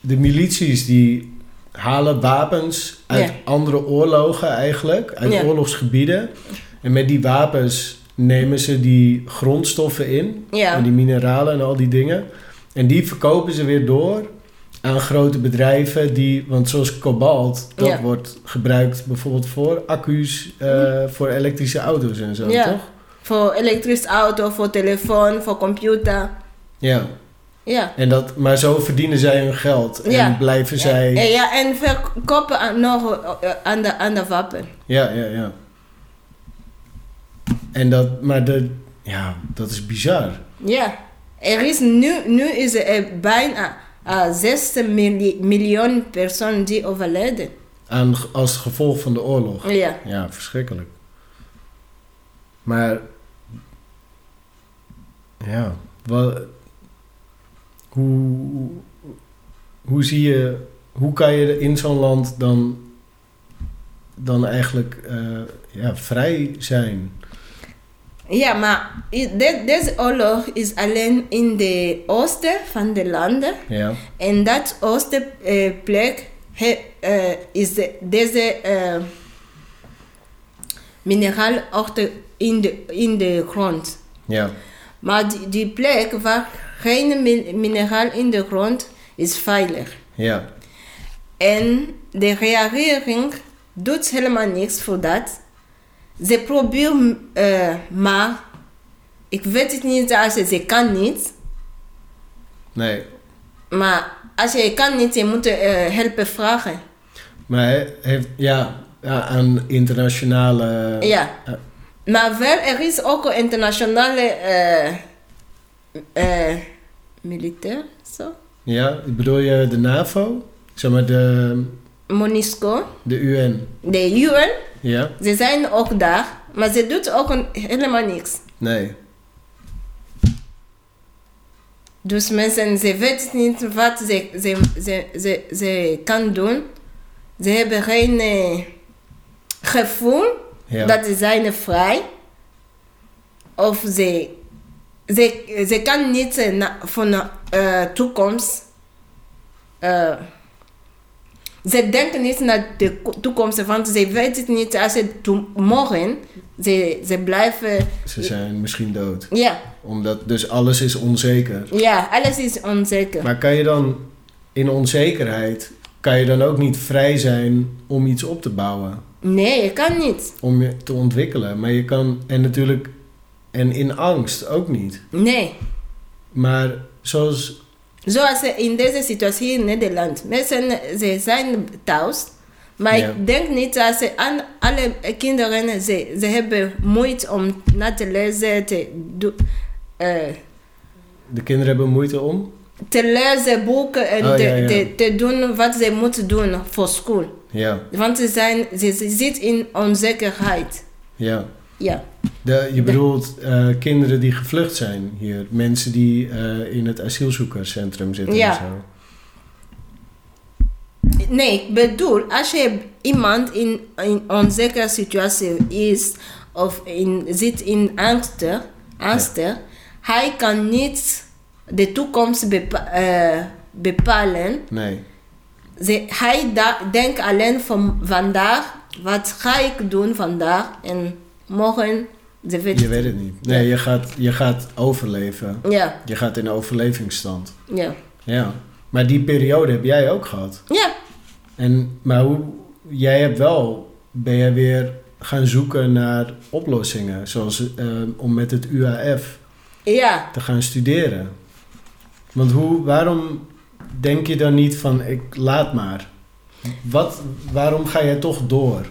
Speaker 1: de milities die halen wapens uit
Speaker 2: Ja.
Speaker 1: andere oorlogen eigenlijk, uit
Speaker 2: Ja.
Speaker 1: oorlogsgebieden. En met die wapens nemen ze die grondstoffen in,
Speaker 2: Ja.
Speaker 1: en die mineralen en al die dingen. En die verkopen ze weer door aan grote bedrijven die, want zoals kobalt, dat
Speaker 2: Ja.
Speaker 1: wordt gebruikt bijvoorbeeld voor accu's, eh, voor elektrische auto's en zo,
Speaker 2: Mhm. Ja.
Speaker 1: toch?
Speaker 2: Voor elektrisch auto, voor telefoon, voor computer.
Speaker 1: Ja.
Speaker 2: Ja.
Speaker 1: En dat, maar zo verdienen zij hun geld en
Speaker 2: Ja.
Speaker 1: blijven zij.
Speaker 2: En, Eh, ja, en verkopen aan, nog eh, eh, aan de, aan de wapen.
Speaker 1: Ja, ja, ja. En dat, maar de, ja, dat is bizar.
Speaker 2: Ja. Er is nu, nu is er bijna eh, 6 mili- miljoen personen die overleden.
Speaker 1: Aan, als gevolg van de oorlog.
Speaker 2: Ja.
Speaker 1: Ja, verschrikkelijk. Maar. Ja, wat. Hoe. Hoe zie je. Hoe kan je in zo'n land dan. dan eigenlijk. eh, ja, vrij zijn?
Speaker 2: Ja, maar i- de- deze oorlog is alleen in de oosten van de landen.
Speaker 1: Ja.
Speaker 2: En dat oosten eh, plek he- eh, is de- deze eh, mineraal achter in de, in de grond.
Speaker 1: Ja.
Speaker 2: Maar die, die plek waar geen mi- mineraal in de grond is veilig.
Speaker 1: Ja.
Speaker 2: En de regering doet helemaal niks voor dat. Ze probeert, eh, maar ik weet het niet, als je- ze kan niet.
Speaker 1: Nee.
Speaker 2: Maar als je kan niet, je moet eh, helpen vragen.
Speaker 1: Maar he- heeft, ja, ja, aan internationale...
Speaker 2: Ja.
Speaker 1: eh,
Speaker 2: Maar wel, er is ook een internationale eh, eh, militair, zo.
Speaker 1: ja, bedoel je de NAVO? Zeg maar de,
Speaker 2: MONUSCO,
Speaker 1: de UN.
Speaker 2: de UN,
Speaker 1: Ja?
Speaker 2: ze zijn ook daar, maar ze doet ook een- helemaal niks.
Speaker 1: Nee.
Speaker 2: Dus mensen, ze weten niet wat ze, ze, ze, ze, ze kan doen. Ze hebben geen eh, gevoel
Speaker 1: Ja.
Speaker 2: dat ze zijn vrij. Of ze, ze, ze kan niet eh, na- van de toekomst. eh, ze denken niet naar de ko- toekomst, want ze weten niet als ze to- morgen, ze, ze blijven.
Speaker 1: Ze zijn misschien dood.
Speaker 2: Ja,
Speaker 1: Omdat dus alles is onzeker.
Speaker 2: ja, alles is onzeker.
Speaker 1: Maar kan je dan in onzekerheid, kan je dan ook niet vrij zijn om iets op te bouwen?
Speaker 2: Nee, je kan niet.
Speaker 1: Om je te ontwikkelen? Maar je kan, en natuurlijk, en in angst ook niet.
Speaker 2: Nee,
Speaker 1: Maar zoals,
Speaker 2: zoals in deze situatie in Nederland. Mensen ze zijn thuis, maar
Speaker 1: Ja.
Speaker 2: ik denk niet dat ze aan alle kinderen ze, ze hebben moeite om na te lezen, te, do- eh,
Speaker 1: de kinderen hebben moeite om?
Speaker 2: te lezen boeken en
Speaker 1: Oh,
Speaker 2: te,
Speaker 1: ja, ja.
Speaker 2: Te, te doen wat ze moeten doen voor school.
Speaker 1: Ja,
Speaker 2: Want ze, zijn, ze, ze zitten in onzekerheid.
Speaker 1: ja.
Speaker 2: Ja.
Speaker 1: De, je bedoelt eh, kinderen die gevlucht zijn hier. Mensen die eh, in het asielzoekerscentrum zitten
Speaker 2: Ja.
Speaker 1: en zo.
Speaker 2: Nee, ik bedoel, als je iemand in een onzekere situatie is of in, zit in angst, angst hij kan niet de toekomst bepa- eh, bepalen.
Speaker 1: Nee,
Speaker 2: Ze, hij da- denkt alleen van vandaag, wat ga ik doen vandaag en morgen, ze weet
Speaker 1: je weet het niet. Nee, je gaat, je gaat overleven.
Speaker 2: Ja,
Speaker 1: Je gaat in overlevingsstand.
Speaker 2: ja,
Speaker 1: Ja. Maar die periode heb jij ook gehad.
Speaker 2: ja,
Speaker 1: En, maar hoe, jij hebt wel, ben jij weer gaan zoeken naar oplossingen. Zoals eh, om met het UAF
Speaker 2: ja.
Speaker 1: te gaan studeren. Want hoe, waarom denk je dan niet van ik laat maar? Wat, waarom ga jij toch door?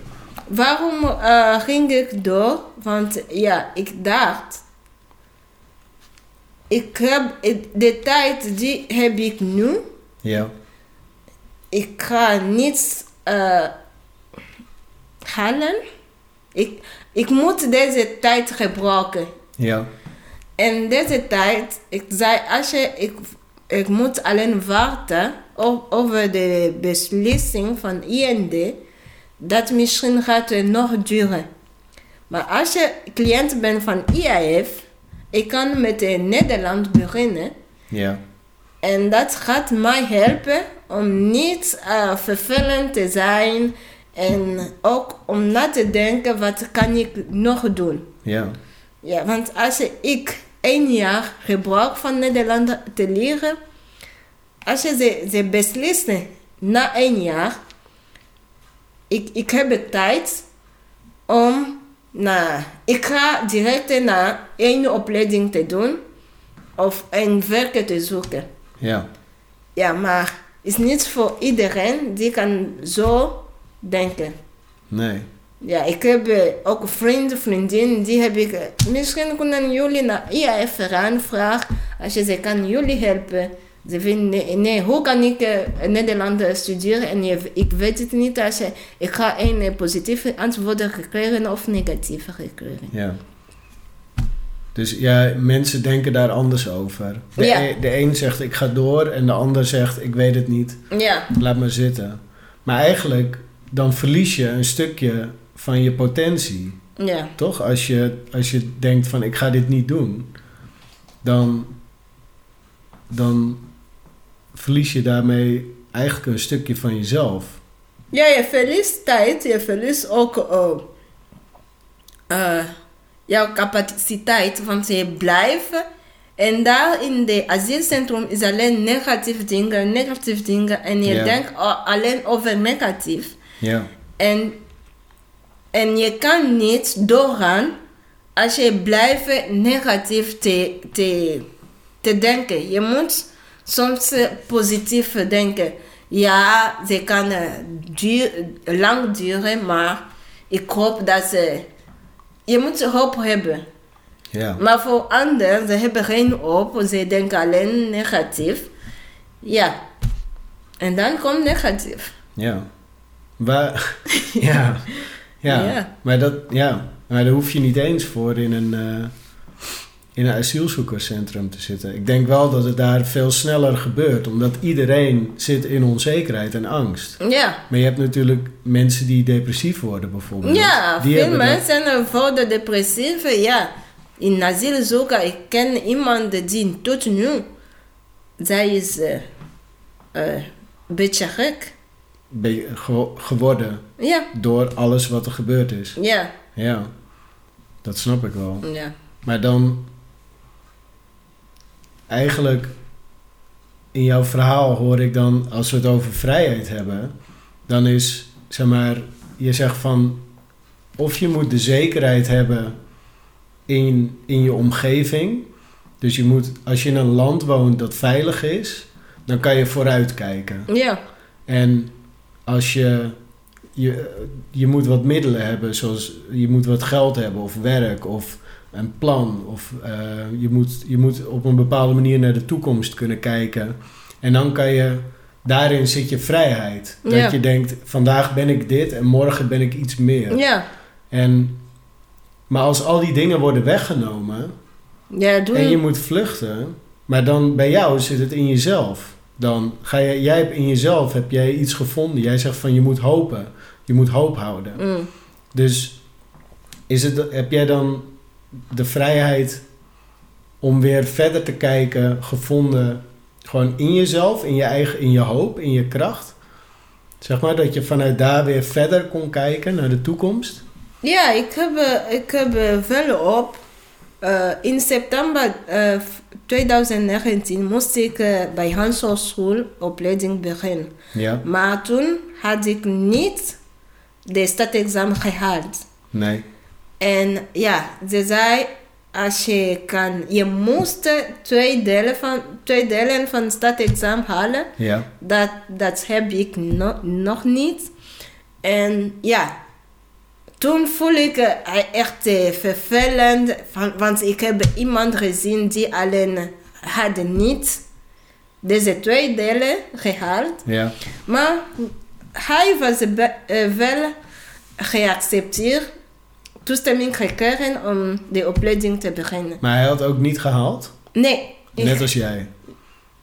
Speaker 2: Waarom eh, ging ik door? Want ja, ik dacht. Ik heb de tijd die heb ik nu.
Speaker 1: Ja,
Speaker 2: Ik ga niets eh, halen. Ik, ik moet deze tijd gebruiken.
Speaker 1: ja,
Speaker 2: En deze tijd, ik zei, als je, ik, ik moet alleen wachten o- over de beslissing van IND, dat misschien gaat het nog duren. Maar als je cliënt bent van IAF, ik kan met eh, Nederland beginnen.
Speaker 1: ja,
Speaker 2: En dat gaat mij helpen om niet eh, vervelend te zijn en ook om na te denken wat kan ik nog doen.
Speaker 1: ja,
Speaker 2: Ja, want als ik één jaar gebruik van Nederland te leren, als je ze, ze beslissen na één jaar, ik, ik heb de tijd om naar, ik ga direct naar één opleiding te doen of een werk te zoeken.
Speaker 1: ja.
Speaker 2: Ja, maar is niet voor iedereen die kan zo denken.
Speaker 1: Nee,
Speaker 2: Ja, ik heb eh, ook vrienden, vriendinnen, die heb ik... eh, Misschien kunnen jullie naar IAF aanvragen als je ze kan jullie helpen. Ze vinden, nee, nee, hoe kan ik eh, in Nederland eh, studeren en je- ik weet het niet als je... Ik ga een eh, positieve antwoord gekregen of negatieve gekregen.
Speaker 1: ja. Dus ja, mensen denken daar anders over. De,
Speaker 2: Ja.
Speaker 1: e- de een zegt ik ga door en de ander zegt ik weet het niet,
Speaker 2: Ja,
Speaker 1: laat maar zitten. Maar eigenlijk, dan verlies je een stukje van je potentie.
Speaker 2: ja,
Speaker 1: Toch? Als je, als je denkt van ik ga dit niet doen, dan, dan verlies je daarmee eigenlijk een stukje van jezelf.
Speaker 2: Ja, je verliest tijd, je verliest ook eh, eh, jouw capaciteit, want je blijft En daar in de asielcentrum is alleen negatief dingen, negatief dingen. En je
Speaker 1: Ja.
Speaker 2: denkt a- alleen over negatief.
Speaker 1: Ja.
Speaker 2: En, en je kan niet doorgaan als je blijft negatief te, te, te denken. Je moet soms eh, positief denken. Ja, ze kan eh, duur, lang duren, maar ik hoop dat ze... Je moet hoop hebben.
Speaker 1: Ja.
Speaker 2: Maar voor anderen, ze hebben geen hoop, ze denken alleen negatief. Ja. En dan komt negatief.
Speaker 1: Ja. Waar, ja. ja.
Speaker 2: Ja.
Speaker 1: Maar dat, ja. Maar daar hoef je niet eens voor in een, eh, in een asielzoekerscentrum te zitten. Ik denk wel dat het daar veel sneller gebeurt, omdat iedereen zit in onzekerheid en angst.
Speaker 2: Ja.
Speaker 1: Maar je hebt natuurlijk mensen die depressief worden bijvoorbeeld.
Speaker 2: Ja,
Speaker 1: die
Speaker 2: veel
Speaker 1: hebben dat-
Speaker 2: mensen worden depressief. Ja, in asielzoeken, ik ken iemand die tot nu, zij is eh, eh, een beetje gek.
Speaker 1: be- ge- geworden
Speaker 2: Ja,
Speaker 1: door alles wat er gebeurd is.
Speaker 2: ja,
Speaker 1: Ja, dat snap ik wel.
Speaker 2: ja.
Speaker 1: Maar dan eigenlijk in jouw verhaal hoor ik dan als we het over vrijheid hebben, dan is zeg maar je zegt van of je moet de zekerheid hebben in, in je omgeving. Dus je moet als je in een land woont dat veilig is, dan kan je vooruitkijken.
Speaker 2: ja.
Speaker 1: En als je, je, je moet wat middelen hebben, zoals je moet wat geld hebben of werk of een plan. Of eh, je, moet, je moet op een bepaalde manier naar de toekomst kunnen kijken. En dan kan je, daarin zit je vrijheid. Dat
Speaker 2: Ja.
Speaker 1: je denkt, vandaag ben ik dit en morgen ben ik iets meer.
Speaker 2: Ja,
Speaker 1: En, maar als al die dingen worden weggenomen
Speaker 2: ja, doe
Speaker 1: en je moet vluchten, maar dan bij jou zit het in jezelf. Dan ga je, jij hebt in jezelf heb jij iets gevonden. Jij zegt van je moet hopen, je moet hoop houden.
Speaker 2: Mm.
Speaker 1: Dus is het, heb jij dan de vrijheid om weer verder te kijken gevonden, gewoon in jezelf, in je eigen, in je hoop, in je kracht? Zeg maar dat je vanuit daar weer verder kon kijken naar de toekomst.
Speaker 2: Ja, ik heb, eh, ik heb eh, wel op. eh, in september eh, 2019 moest ik eh, bij Hans School opleiding beginnen.
Speaker 1: Ja.
Speaker 2: Maar toen had ik niet de stadexamen gehaald.
Speaker 1: Nee.
Speaker 2: En ja, ze zei, als je kan, je moest twee delen van, twee delen van het stadexamen halen.
Speaker 1: Ja.
Speaker 2: Dat, dat heb ik no- nog niet. En ja, toen voel ik eh, echt eh, vervelend, van- want ik heb iemand gezien die alleen eh, had niet deze twee delen gehaald.
Speaker 1: Ja.
Speaker 2: Maar hij was be- eh, wel geaccepteerd, toestemming gekregen om de opleiding te beginnen.
Speaker 1: Maar hij had ook niet gehaald,
Speaker 2: Nee, ik-
Speaker 1: net als jij.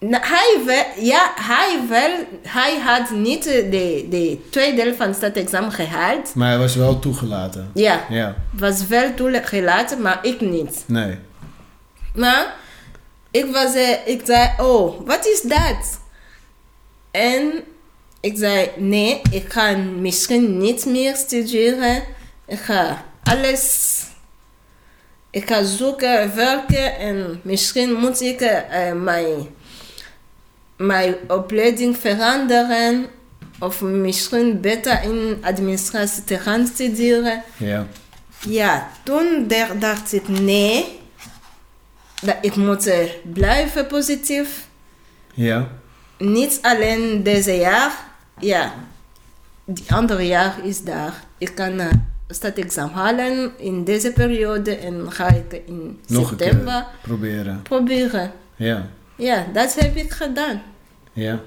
Speaker 2: Nou, hij, wel, ja, hij, wel, hij had niet eh, de, de tweede deel van het staatsexamen gehaald.
Speaker 1: Maar hij was wel toegelaten.
Speaker 2: Ja,
Speaker 1: Ja,
Speaker 2: was wel toegelaten, maar ik niet.
Speaker 1: nee.
Speaker 2: Maar ik, was, eh, ik zei, oh, wat is dat? En ik zei, nee, ik ga misschien niet meer studeren. Ik ga alles... Ik ga zoeken, werken en misschien moet ik eh, eh, mijn, mijn opleiding veranderen. Of misschien beter in administratie te gaan studeren.
Speaker 1: Ja,
Speaker 2: Ja, toen der- dacht ik nee. Dat ik moet eh, blijven positief.
Speaker 1: ja,
Speaker 2: Niet alleen deze jaar. Ja, die andere jaar is daar. Ik kan eh staatsexamen halen in deze periode en ga ik in
Speaker 1: nog een keer
Speaker 2: september
Speaker 1: proberen.
Speaker 2: proberen.
Speaker 1: Ja,
Speaker 2: Ja, dat heb ik gedaan.
Speaker 1: ja.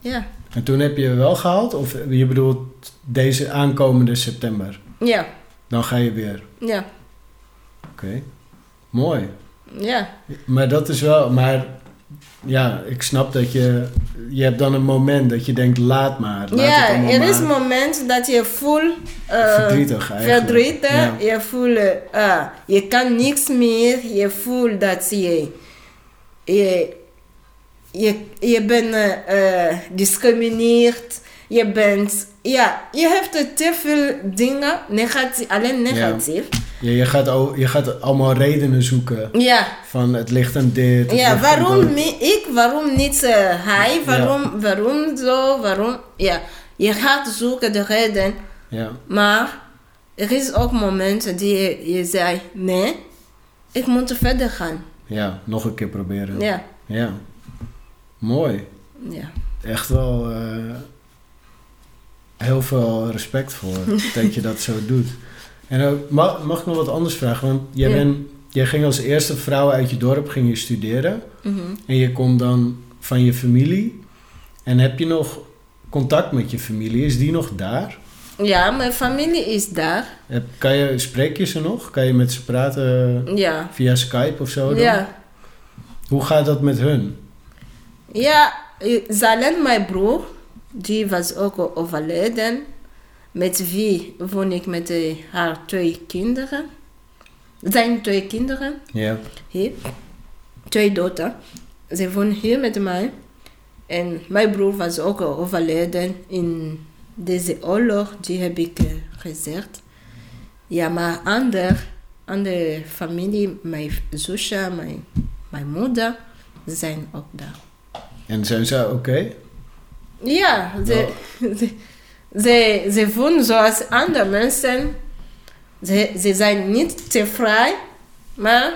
Speaker 2: Ja,
Speaker 1: En toen heb je wel gehaald, of je bedoelt deze aankomende september?
Speaker 2: ja,
Speaker 1: Dan ga je weer.
Speaker 2: ja,
Speaker 1: Oké, mooi.
Speaker 2: ja.
Speaker 1: Maar dat is wel, maar ja, ik snap dat je, je hebt dan een moment dat je denkt, laat maar. Laat
Speaker 2: ja,
Speaker 1: het allemaal
Speaker 2: er is een
Speaker 1: maar.
Speaker 2: moment dat je voelt... eh,
Speaker 1: Verdrietig eigenlijk.
Speaker 2: verdrietig.
Speaker 1: Ja.
Speaker 2: Je voelt, eh, je kan niks meer. Je voelt dat je, je, je, je bent eh, eh, discrimineerd. je bent, ja, je hebt te veel dingen, negatief, alleen negatief.
Speaker 1: Ja, je, gaat al, je gaat allemaal redenen zoeken.
Speaker 2: Ja, ja.
Speaker 1: Van het ligt aan dit. het ligt aan
Speaker 2: waarom
Speaker 1: dat.
Speaker 2: mi- ik, waarom niet eh, hij, waarom, waarom zo, waarom, ja. Je gaat zoeken de reden,
Speaker 1: Ja,
Speaker 2: maar er is ook momenten die je, je zei, nee, ik moet verder gaan.
Speaker 1: ja, nog een keer proberen.
Speaker 2: Ja,
Speaker 1: Ja. Mooi.
Speaker 2: ja.
Speaker 1: Echt wel eh, heel veel respect voor dat je dat zo doet. En ook, mag, mag ik nog wat anders vragen? Want jij,
Speaker 2: Ja.
Speaker 1: bent, jij ging als eerste vrouw uit je dorp ging je studeren.
Speaker 2: Mhm.
Speaker 1: En je komt dan van je familie. En heb je nog contact met je familie? Is die nog daar?
Speaker 2: Ja, mijn familie is daar.
Speaker 1: Heb, kan je, spreek je ze nog? Kan je met ze praten eh,
Speaker 2: Ja.
Speaker 1: via Skype of zo? Oh, dan?
Speaker 2: Ja.
Speaker 1: Hoe gaat dat met hun?
Speaker 2: Ja, eh, Zalen, mijn broer, die was ook overleden. Met wie woon ik met eh, haar twee kinderen. Zijn twee kinderen
Speaker 1: Ja,
Speaker 2: hier. Twee dochter. Ze woont hier met mij. En mijn broer was ook overleden in deze oorlog, die heb ik eh, gezegd. Ja, maar ander, andere familie, mijn zusje, mijn, mijn moeder, ze zijn ook daar.
Speaker 1: en zijn ze oké?
Speaker 2: Ja, ze,
Speaker 1: Oh.
Speaker 2: ze, ze, ze voelen zoals andere mensen. Ze, ze zijn niet te vrij, maar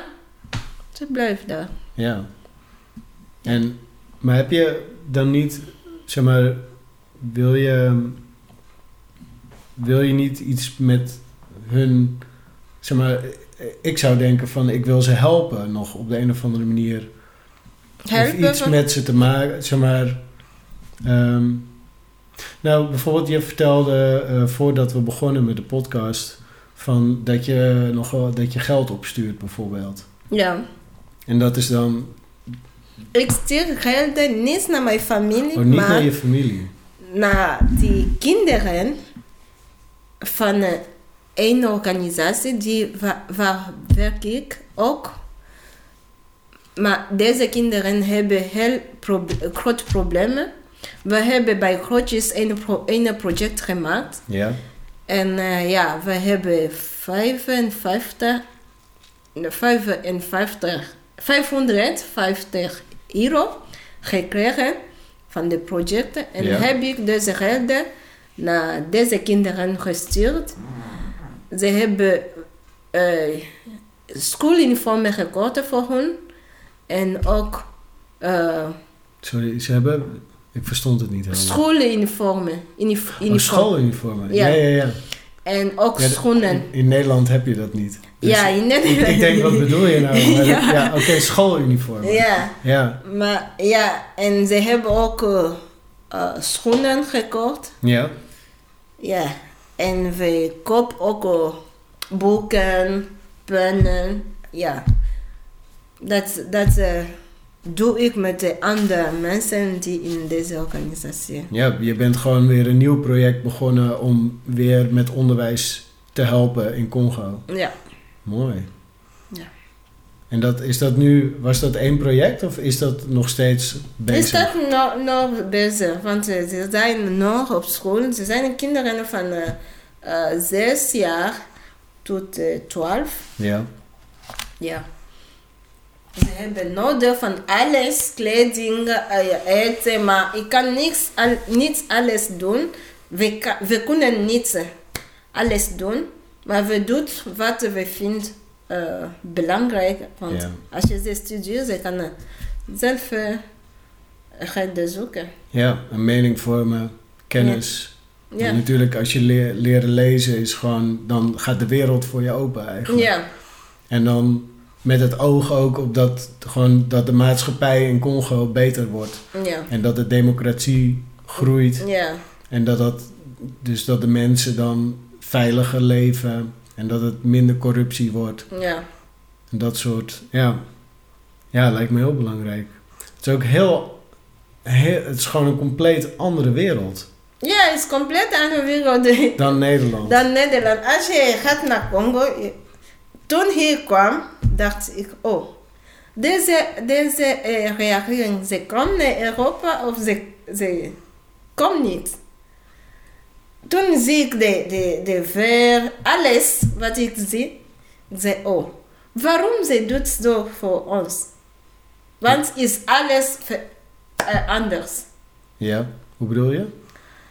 Speaker 2: ze blijven daar.
Speaker 1: Ja. En, maar heb je dan niet, zeg maar, wil je, wil je niet iets met hun, zeg maar, ik zou denken van ik wil ze helpen nog op de een of andere manier.
Speaker 2: Helpen
Speaker 1: of iets
Speaker 2: van-
Speaker 1: met ze te maken, zeg maar. ehm, nou, bijvoorbeeld, je vertelde eh, voordat we begonnen met de podcast. Van dat je nog wel, dat je geld opstuurt, bijvoorbeeld.
Speaker 2: Ja.
Speaker 1: En dat is dan
Speaker 2: Ik stuur gelden niet naar mijn familie,
Speaker 1: Oh, niet
Speaker 2: maar
Speaker 1: naar je familie.
Speaker 2: naar die kinderen van eh, een organisatie die, waar, waar werk ik ook. Maar deze kinderen hebben heel proble- grote problemen. We hebben bij grootjes een, pro- een project gemaakt.
Speaker 1: Ja.
Speaker 2: En eh, ja, we hebben 55, nee, 55, 550 euro gekregen van de projecten. En
Speaker 1: Ja.
Speaker 2: heb ik deze gelden naar deze kinderen gestuurd. Ze hebben eh schooluniformen gekocht voor hun. En ook eh
Speaker 1: Sorry, ze hebben... Ik verstond het niet helemaal.
Speaker 2: schooluniformen. Unif-
Speaker 1: Oh,
Speaker 2: uniform.
Speaker 1: schooluniformen. Ja,
Speaker 2: Ja.
Speaker 1: ja, ja.
Speaker 2: En ook
Speaker 1: Ja, d-
Speaker 2: schoenen.
Speaker 1: In, in Nederland heb je dat niet. Dus
Speaker 2: ja, in
Speaker 1: ik,
Speaker 2: Nederland.
Speaker 1: ik denk, wat bedoel je nou? Maar dat- ja,
Speaker 2: Ja.
Speaker 1: oké, schooluniformen.
Speaker 2: Ja,
Speaker 1: Ja,
Speaker 2: maar ja, en ze hebben ook eh, eh, schoenen gekocht.
Speaker 1: ja.
Speaker 2: Ja, en we kopen ook eh, boeken, pennen. Ja, dat, dat eh, doe ik met de andere mensen die in deze organisatie.
Speaker 1: Ja, je bent gewoon weer een nieuw project begonnen om weer met onderwijs te helpen in Congo.
Speaker 2: Ja,
Speaker 1: Mooi.
Speaker 2: Ja.
Speaker 1: En dat, is dat nu, was dat één project of is dat nog steeds bezig?
Speaker 2: is dat nog nog bezig? Want eh, ze zijn nog op school. Ze zijn kinderen van eh, eh, zes jaar tot eh, twaalf.
Speaker 1: Ja,
Speaker 2: Ja. Ze hebben nodig van alles, kleding, eh, eten, maar ik kan niks, al, niet alles doen. We, ka- we kunnen niet eh, alles doen, maar we doen wat we vinden eh, belangrijk. Want
Speaker 1: Ja.
Speaker 2: als je ze studeert, ze kan eh, zelf eh gaan zoeken.
Speaker 1: ja een mening vormen, kennis. En
Speaker 2: Ja.
Speaker 1: natuurlijk, als je leer- leren lezen is gewoon, dan gaat de wereld voor je open eigenlijk.
Speaker 2: ja,
Speaker 1: En dan met het oog ook op dat, gewoon, dat de maatschappij in Congo beter wordt.
Speaker 2: ja,
Speaker 1: En dat de democratie groeit.
Speaker 2: ja,
Speaker 1: En dat, dat, dus dat de mensen dan veiliger leven. En dat het minder corruptie wordt.
Speaker 2: ja.
Speaker 1: En dat soort, ja. Ja, lijkt me heel belangrijk. Het is ook heel, heel het is gewoon een compleet andere wereld
Speaker 2: Ja, het is compleet ingewikkeld.
Speaker 1: dan Nederland.
Speaker 2: Dan Nederland. Als je gaat naar Congo, je- toen hier kwam, dacht ik, oh, deze, deze eh, regering, ze komt naar Europa of ze, ze komt niet. toen zie ik de, de, de ver, alles wat ik zie. Ik zei, oh, waarom ze doet zo voor ons? Want is alles ver- eh, anders.
Speaker 1: Ja, hoe bedoel je?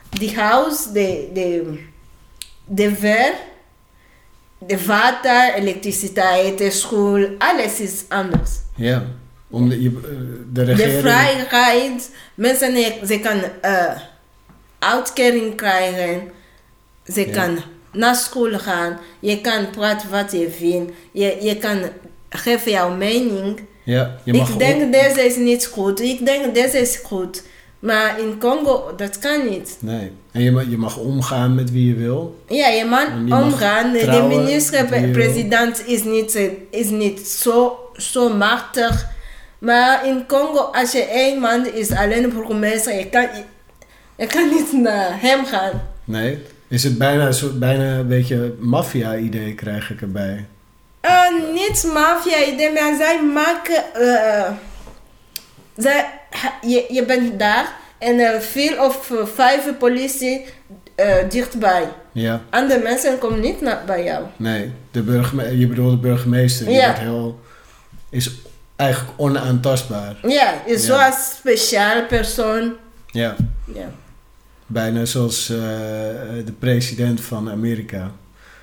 Speaker 2: Die huis, de, de, de ver, de water, elektriciteit, de school, alles is anders.
Speaker 1: Ja, om de, je- eh, de regering...
Speaker 2: De vrijheid, mensen eh, ze kan eh, uitkering krijgen, ze
Speaker 1: Ja.
Speaker 2: kan naar school gaan, je kan praten wat je vindt, je, je kan geven jouw mening.
Speaker 1: Ja, je mag
Speaker 2: Ik denk
Speaker 1: op-
Speaker 2: deze is niet goed, ik denk deze is goed. Maar in Congo, dat kan niet.
Speaker 1: Nee, en je mag, je mag omgaan met wie je wil.
Speaker 2: Ja, je
Speaker 1: En
Speaker 2: man
Speaker 1: je mag
Speaker 2: omgaan, de
Speaker 1: trouwen met wie je wil.
Speaker 2: minister-president is niet, eh, is niet zo, zo machtig. Maar in Congo, als je één man is alleen burgemeester, je kan, je kan niet naar hem gaan.
Speaker 1: Nee, is het bijna een soort, bijna een beetje maffia-idee krijg ik erbij.
Speaker 2: Eh, niet maffia-idee, maar zij maken... eh, zij, ha- je, je bent daar en eh, vier of eh, vijf politie eh, dichtbij.
Speaker 1: Ja,
Speaker 2: Andere mensen komen niet naar, bij jou.
Speaker 1: nee, de burgeme je bedoelt de burgemeester, die
Speaker 2: Ja.
Speaker 1: wordt heel, is eigenlijk onaantastbaar.
Speaker 2: Ja, is
Speaker 1: Ja.
Speaker 2: zo'n speciale persoon.
Speaker 1: Ja,
Speaker 2: Ja.
Speaker 1: bijna zoals eh, de president van Amerika.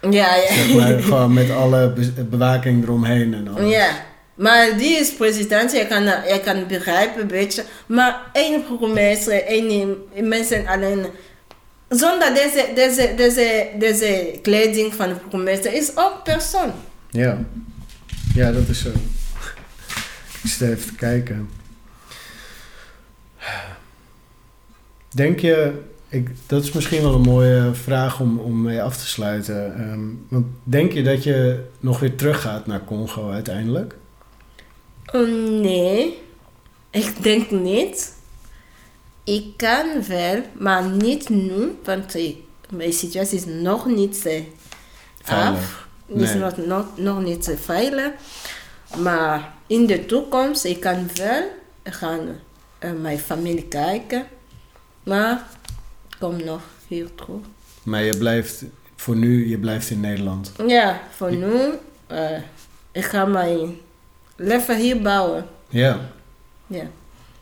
Speaker 2: Ja, ja.
Speaker 1: Zeg maar, gewoon met alle be- bewaking eromheen en alles.
Speaker 2: ja. Maar die is president, je kan, je kan begrijpen een beetje. Maar één burgemeester, één mensen alleen. Zonder deze, deze, deze, deze kleding van de burgemeester is ook persoon.
Speaker 1: Ja. Ja, dat is zo. Ik zit even te kijken. Denk je, ik, dat is misschien wel een mooie vraag om, om mee af te sluiten. Ehm, want denk je dat je nog weer teruggaat naar Congo uiteindelijk?
Speaker 2: Oh, nee, ik denk niet. Ik kan wel, maar niet nu, want eh, mijn situatie is nog niet eh, af.
Speaker 1: Veilig.
Speaker 2: is
Speaker 1: Nee.
Speaker 2: nog, nog, nog niet eh, veilig. Maar in de toekomst, ik kan wel gaan eh, mijn familie kijken. Maar ik kom nog hier terug.
Speaker 1: Maar je blijft, voor nu, je blijft in Nederland.
Speaker 2: Ja, voor nu, eh, ik ga mijn leven hier bouwen.
Speaker 1: Ja.
Speaker 2: Ja.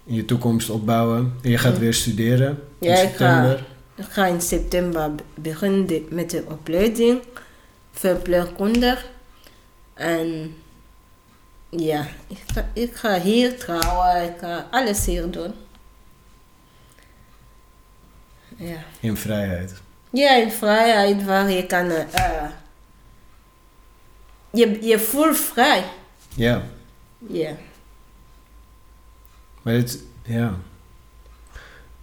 Speaker 1: In je toekomst opbouwen. En je gaat weer studeren. in
Speaker 2: Ja, ik ga.
Speaker 1: september.
Speaker 2: Ik ga in september be- beginnen de- met de opleiding verpleegkundig. En ja, ik ga, ik ga hier trouwen, ik ga alles hier doen. Ja,
Speaker 1: In vrijheid.
Speaker 2: ja in vrijheid waar je kan... eh, eh, je, je voelt vrij.
Speaker 1: Ja.
Speaker 2: Ja.
Speaker 1: Maar het, ja.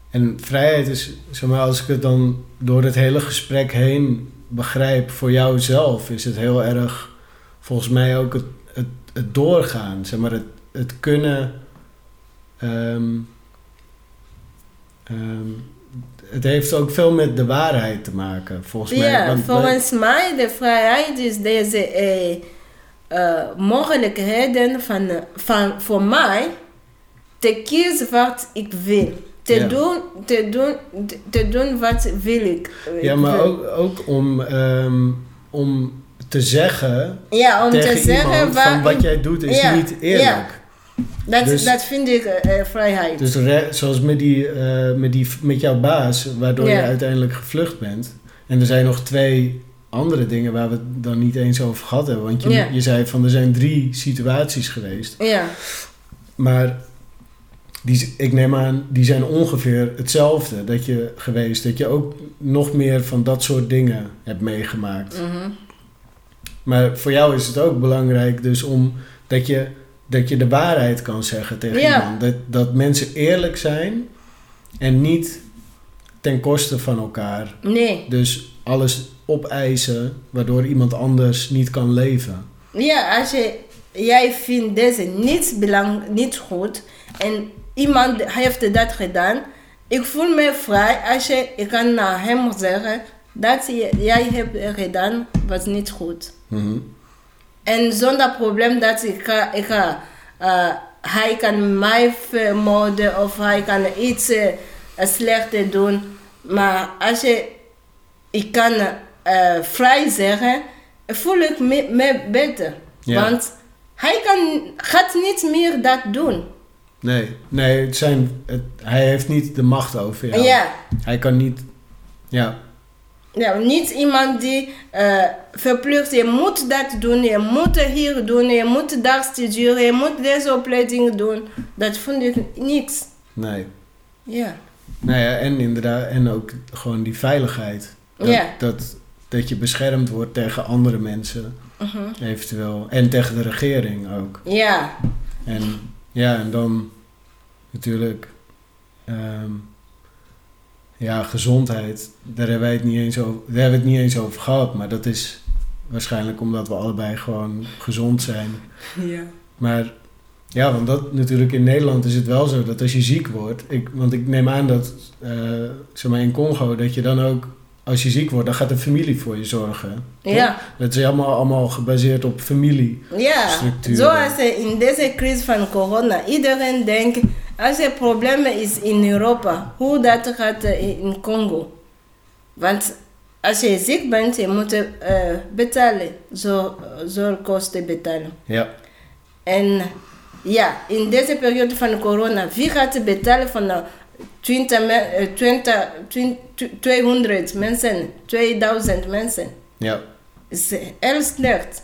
Speaker 1: En vrijheid is, zeg maar, als ik het dan door het hele gesprek heen begrijp, voor jouzelf is het heel erg, volgens mij ook het, het, het doorgaan, zeg maar, het, het kunnen, ehm, ehm, het heeft ook veel met de waarheid te maken, volgens mij.
Speaker 2: Ja,
Speaker 1: Want wij-
Speaker 2: volgens mij de vrijheid is deze eh, eh, mogelijkheden van, van, voor mij te kiezen wat ik wil. Te,
Speaker 1: Ja.
Speaker 2: doen, te, doen, te doen wat wil ik. eh,
Speaker 1: ja,
Speaker 2: Ik
Speaker 1: maar
Speaker 2: wil.
Speaker 1: ook, ook om, ehm, om te zeggen
Speaker 2: ja, om
Speaker 1: tegen
Speaker 2: te zeggen
Speaker 1: iemand van
Speaker 2: waar
Speaker 1: wat
Speaker 2: ik-
Speaker 1: jij doet is
Speaker 2: Ja,
Speaker 1: niet eerlijk.
Speaker 2: ja. dat,
Speaker 1: dus-
Speaker 2: dat vind ik eh, eh, vrijheid.
Speaker 1: Dus re- zoals met, die, eh, met, die, met jouw baas, waardoor je
Speaker 2: Ja.
Speaker 1: uiteindelijk gevlucht bent. En er zijn nog twee andere dingen waar we het dan niet eens over gehad hebben. Want je,
Speaker 2: Ja.
Speaker 1: je zei van er zijn drie situaties geweest.
Speaker 2: ja,
Speaker 1: Maar die, z- ik neem aan, die zijn ongeveer hetzelfde dat je geweest. Dat je ook nog meer van dat soort dingen hebt meegemaakt.
Speaker 2: mhm.
Speaker 1: Maar voor jou is het ook belangrijk dus om dat je, dat je de waarheid kan zeggen tegen
Speaker 2: Ja.
Speaker 1: iemand. Dat, dat mensen eerlijk zijn en niet ten koste van elkaar.
Speaker 2: nee.
Speaker 1: Dus alles opeisen waardoor iemand anders niet kan leven.
Speaker 2: Ja, als je, jij vindt deze niet, belang, niet goed en iemand heeft dat gedaan, ik voel me vrij als je ik kan naar hem zeggen dat je- jij hebt gedaan was niet goed.
Speaker 1: Mhm.
Speaker 2: En zonder probleem dat ik ga, ik ga, eh, hij kan mij uh, vermoorden of hij kan iets eh, slechts doen. Maar als je ik kan eh, vrij zeggen, voel ik uh, me, me beter.
Speaker 1: Ja.
Speaker 2: Want hij kan, gaat niet meer dat doen.
Speaker 1: Nee, nee het zijn, het, hij heeft niet de macht over
Speaker 2: Ja,
Speaker 1: jou.
Speaker 2: ja.
Speaker 1: Hij kan niet... Ja,
Speaker 2: niet iemand die eh verplicht, je moet dat doen, je moet hier doen, je moet daar studeren, je moet deze opleiding doen. Dat vond ik niks.
Speaker 1: nee.
Speaker 2: Ja,
Speaker 1: Nou ja, en inderdaad, en ook gewoon die veiligheid. Dat,
Speaker 2: Ja.
Speaker 1: dat, dat je beschermd wordt tegen andere mensen,
Speaker 2: Mhm.
Speaker 1: eventueel. En tegen de regering ook.
Speaker 2: ja,
Speaker 1: En ja, en dan natuurlijk, ehm, ja, gezondheid. Daar hebben, wij het niet eens over, daar hebben we het niet eens over gehad. Maar dat is waarschijnlijk omdat we allebei gewoon gezond zijn.
Speaker 2: ja.
Speaker 1: Maar ja, want dat natuurlijk in Nederland is het wel zo dat als je ziek wordt, ik, want ik neem aan dat, eh, zeg maar in Congo, dat je dan ook, als je ziek wordt, dan gaat de familie voor je zorgen.
Speaker 2: ja.
Speaker 1: Dat is allemaal, allemaal gebaseerd op familie.
Speaker 2: Ja,
Speaker 1: structuren.
Speaker 2: zoals eh, in deze crisis van corona. Iedereen denkt, als er probleem is in Europa, hoe dat gaat eh, in Congo. Want als je ziek bent, je moet eh, betalen, zo, zorgkosten betalen.
Speaker 1: Ja,
Speaker 2: En ja, in deze periode van corona, wie gaat betalen van eh, 20, me- eh, 20, 20, 200 mensen, 2000 mensen?
Speaker 1: ja,
Speaker 2: is eh, heel slecht.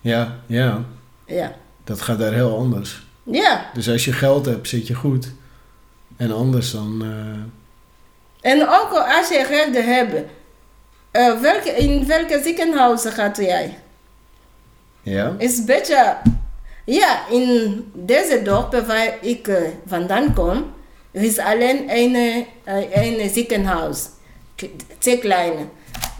Speaker 1: ja, ja.
Speaker 2: Ja.
Speaker 1: Dat gaat daar heel anders.
Speaker 2: ja.
Speaker 1: Dus als je geld hebt, zit je goed. En anders dan, eh,
Speaker 2: En ook als je rechten hebt, eh, welke, in welke ziekenhuis gaat jij?
Speaker 1: ja,
Speaker 2: Is beter. Ja, in deze dorp waar ik eh, vandaan kom, er is alleen een, eh, een ziekenhuis. K- Te klein.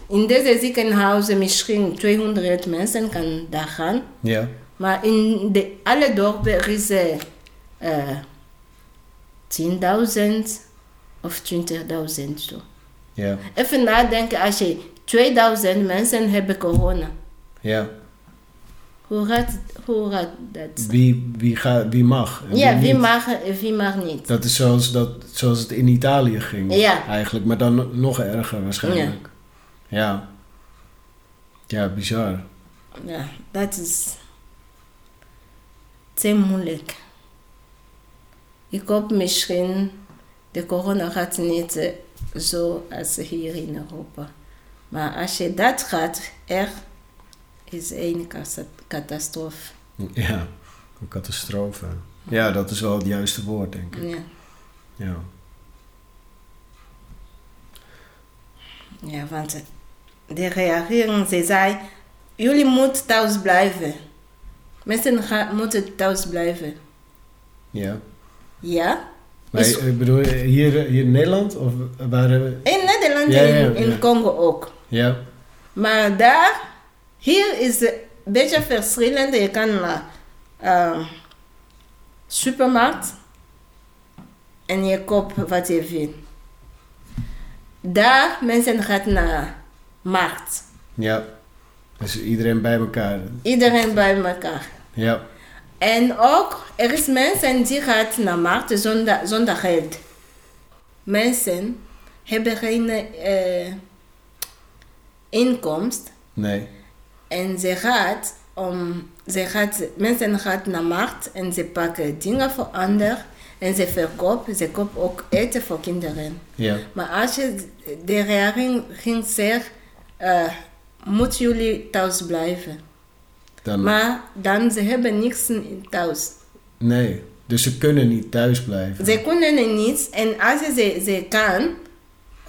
Speaker 2: In deze ziekenhuis misschien 200 mensen kan daar gaan.
Speaker 1: ja,
Speaker 2: Maar in de, alle dorpen er is eh, eh, 10.000 of 20.000 zo.
Speaker 1: ja,
Speaker 2: Even nadenken als je 2000 mensen hebben corona.
Speaker 1: ja.
Speaker 2: Hoe gaat, hoe gaat dat?
Speaker 1: Wie, wie, gaat, wie mag? en
Speaker 2: Ja, wie
Speaker 1: niet.
Speaker 2: mag en wie mag niet?
Speaker 1: Dat is zoals, dat, zoals het in Italië ging.
Speaker 2: Ja.
Speaker 1: Eigenlijk, maar dan nog erger waarschijnlijk. Ja. Ja, bizar.
Speaker 2: Ja, dat is te moeilijk. Ik hoop misschien de corona gaat niet eh, zo als hier in Europa. Maar als je dat gaat, er is een kasa- catastrofe.
Speaker 1: Ja, een catastrofe. Ja, dat is wel het juiste woord, denk ik.
Speaker 2: Ja,
Speaker 1: Ja.
Speaker 2: ja want eh, de regering ze zei, jullie moeten thuis blijven. Mensen gaan, moeten thuis blijven.
Speaker 1: ja.
Speaker 2: Ja?
Speaker 1: Maar
Speaker 2: Is-
Speaker 1: ik bedoel, hier, eh, hier in Nederland? Of waren we...
Speaker 2: In Nederland
Speaker 1: Ja,
Speaker 2: en
Speaker 1: ja,
Speaker 2: in
Speaker 1: ja.
Speaker 2: Congo ook.
Speaker 1: Ja,
Speaker 2: Maar daar, hier is het een beetje verschillend. Je kan naar eh, supermarkt en je koopt wat je wil. Daar mensen gaan naar markt.
Speaker 1: ja. Dus iedereen bij elkaar.
Speaker 2: Iedereen bij elkaar.
Speaker 1: Ja,
Speaker 2: En ook, er is mensen die gaan naar markt zonder, zonder geld. Mensen hebben geen eh, inkomst.
Speaker 1: nee.
Speaker 2: En ze gaat, om, ze gaat, mensen gaan naar markt en ze pakken dingen voor anderen en ze verkopen. Ze kopen ook eten voor kinderen.
Speaker 1: Ja,
Speaker 2: Maar als je de regering ging zeggen, eh, moet jullie thuis blijven.
Speaker 1: dan...
Speaker 2: Maar dan ze hebben niks in thuis.
Speaker 1: Nee. Dus ze kunnen niet thuis blijven.
Speaker 2: Ze kunnen er niets en als ze, ze kan,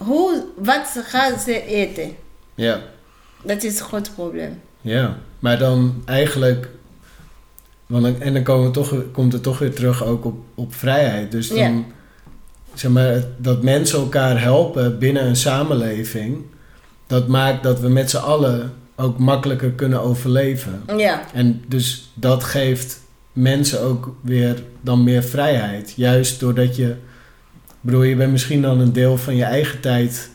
Speaker 2: hoe, wat gaan ze eten?
Speaker 1: Ja.
Speaker 2: Dat is een groot probleem.
Speaker 1: Ja, maar dan eigenlijk. Want dan, en dan komen we toch, komt het toch weer terug ook op, op vrijheid. Dus dan,
Speaker 2: Ja.
Speaker 1: zeg maar, het- dat mensen elkaar helpen binnen een samenleving, dat maakt dat we met z'n allen ook makkelijker kunnen overleven.
Speaker 2: Ja,
Speaker 1: En dus dat geeft mensen ook weer dan meer vrijheid. Juist doordat je, ik bedoel, je bent misschien dan een deel van je eigen tijd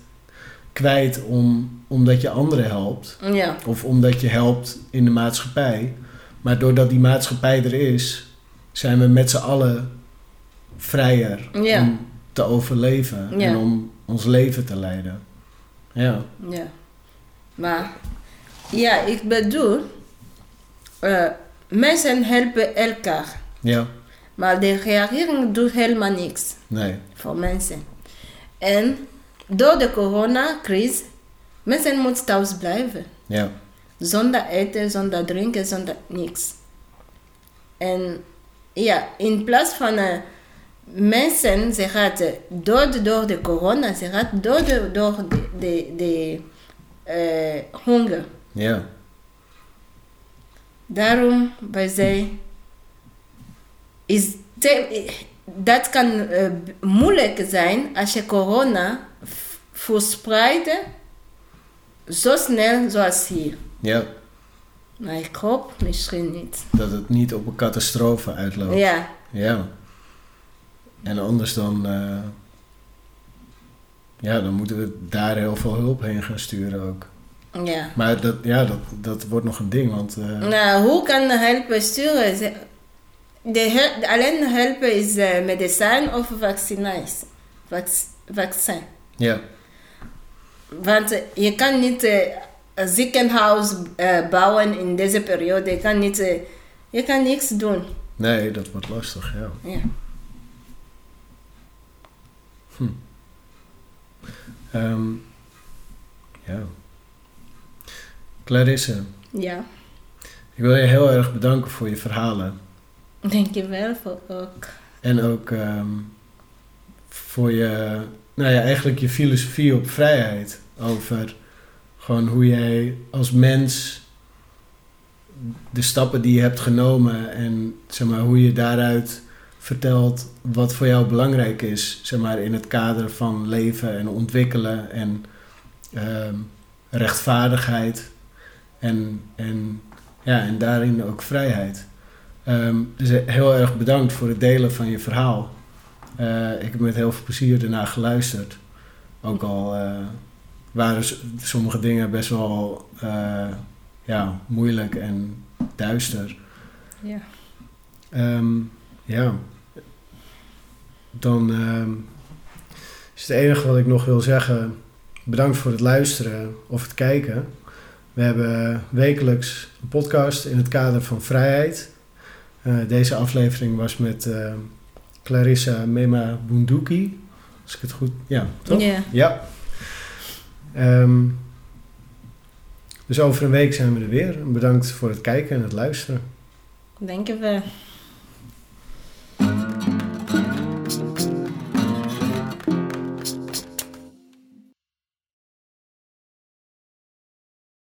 Speaker 1: kwijt om, omdat je anderen helpt.
Speaker 2: ja.
Speaker 1: Of omdat je helpt in de maatschappij. Maar doordat die maatschappij er is, zijn we met z'n allen vrijer
Speaker 2: Ja.
Speaker 1: om te overleven
Speaker 2: Ja.
Speaker 1: en om ons leven te leiden. Ja,
Speaker 2: Ja, Maar ja, ik bedoel, eh, mensen helpen elkaar.
Speaker 1: Ja,
Speaker 2: Maar de regering doet helemaal niks
Speaker 1: nee.
Speaker 2: voor mensen. En door de coronacrisis, mensen moeten thuis blijven.
Speaker 1: Ja,
Speaker 2: Zonder eten, zonder drinken, zonder niks. En ja, in plaats van eh, mensen, ze gaat eh, dood door de corona, ze gaat dood door de, de, de eh, honger.
Speaker 1: ja.
Speaker 2: Daarom wij zij is te- dat kan eh, moeilijk zijn als je corona v- verspreidt zo snel zoals hier.
Speaker 1: Ja,
Speaker 2: Maar ik hoop misschien niet.
Speaker 1: dat het niet op een catastrofe uitloopt.
Speaker 2: Ja,
Speaker 1: Ja. En anders dan... eh, ja, dan moeten we daar heel veel hulp heen gaan sturen ook.
Speaker 2: ja.
Speaker 1: Maar dat, ja, dat, dat wordt nog een ding, want... eh,
Speaker 2: Nou, hoe kan helpen sturen? Ze- De hel- alleen helpen is eh, medicijn of vaccinatie. Vac- vaccin.
Speaker 1: Ja,
Speaker 2: Want eh, je kan niet eh, een ziekenhuis eh, bouwen in deze periode. Je kan, niet, eh, je kan niks doen.
Speaker 1: nee, dat wordt lastig, ja.
Speaker 2: Ja.
Speaker 1: Ehm, ja. Clarisse,
Speaker 2: ja.
Speaker 1: ik wil je heel erg bedanken voor je verhalen.
Speaker 2: Dankjewel voor ook.
Speaker 1: En ook ehm, voor je, nou ja, eigenlijk je filosofie op vrijheid. Over gewoon hoe jij als mens de stappen die je hebt genomen en zeg maar, hoe je daaruit vertelt wat voor jou belangrijk is. Zeg maar in het kader van leven en ontwikkelen en ehm, rechtvaardigheid. En, en, ja, en daarin ook vrijheid. Ehm, dus heel erg bedankt voor het delen van je verhaal. Eh, ik heb met heel veel plezier ernaar geluisterd. Ook al eh, waren s- sommige dingen best wel eh, ja, moeilijk en duister.
Speaker 2: Ja.
Speaker 1: Ehm, ja. Dan ehm, is het enige wat ik nog wil zeggen. Bedankt voor het luisteren of het kijken. We hebben wekelijks een podcast in het kader van vrijheid. Eh, deze aflevering was met eh, Clarissa Mema Bunduki. Als ik het goed... Ja, toch?
Speaker 2: Ja.
Speaker 1: Ja. Ehm, dus over een week zijn we er weer. Bedankt voor het kijken en het luisteren.
Speaker 2: Dankjewel.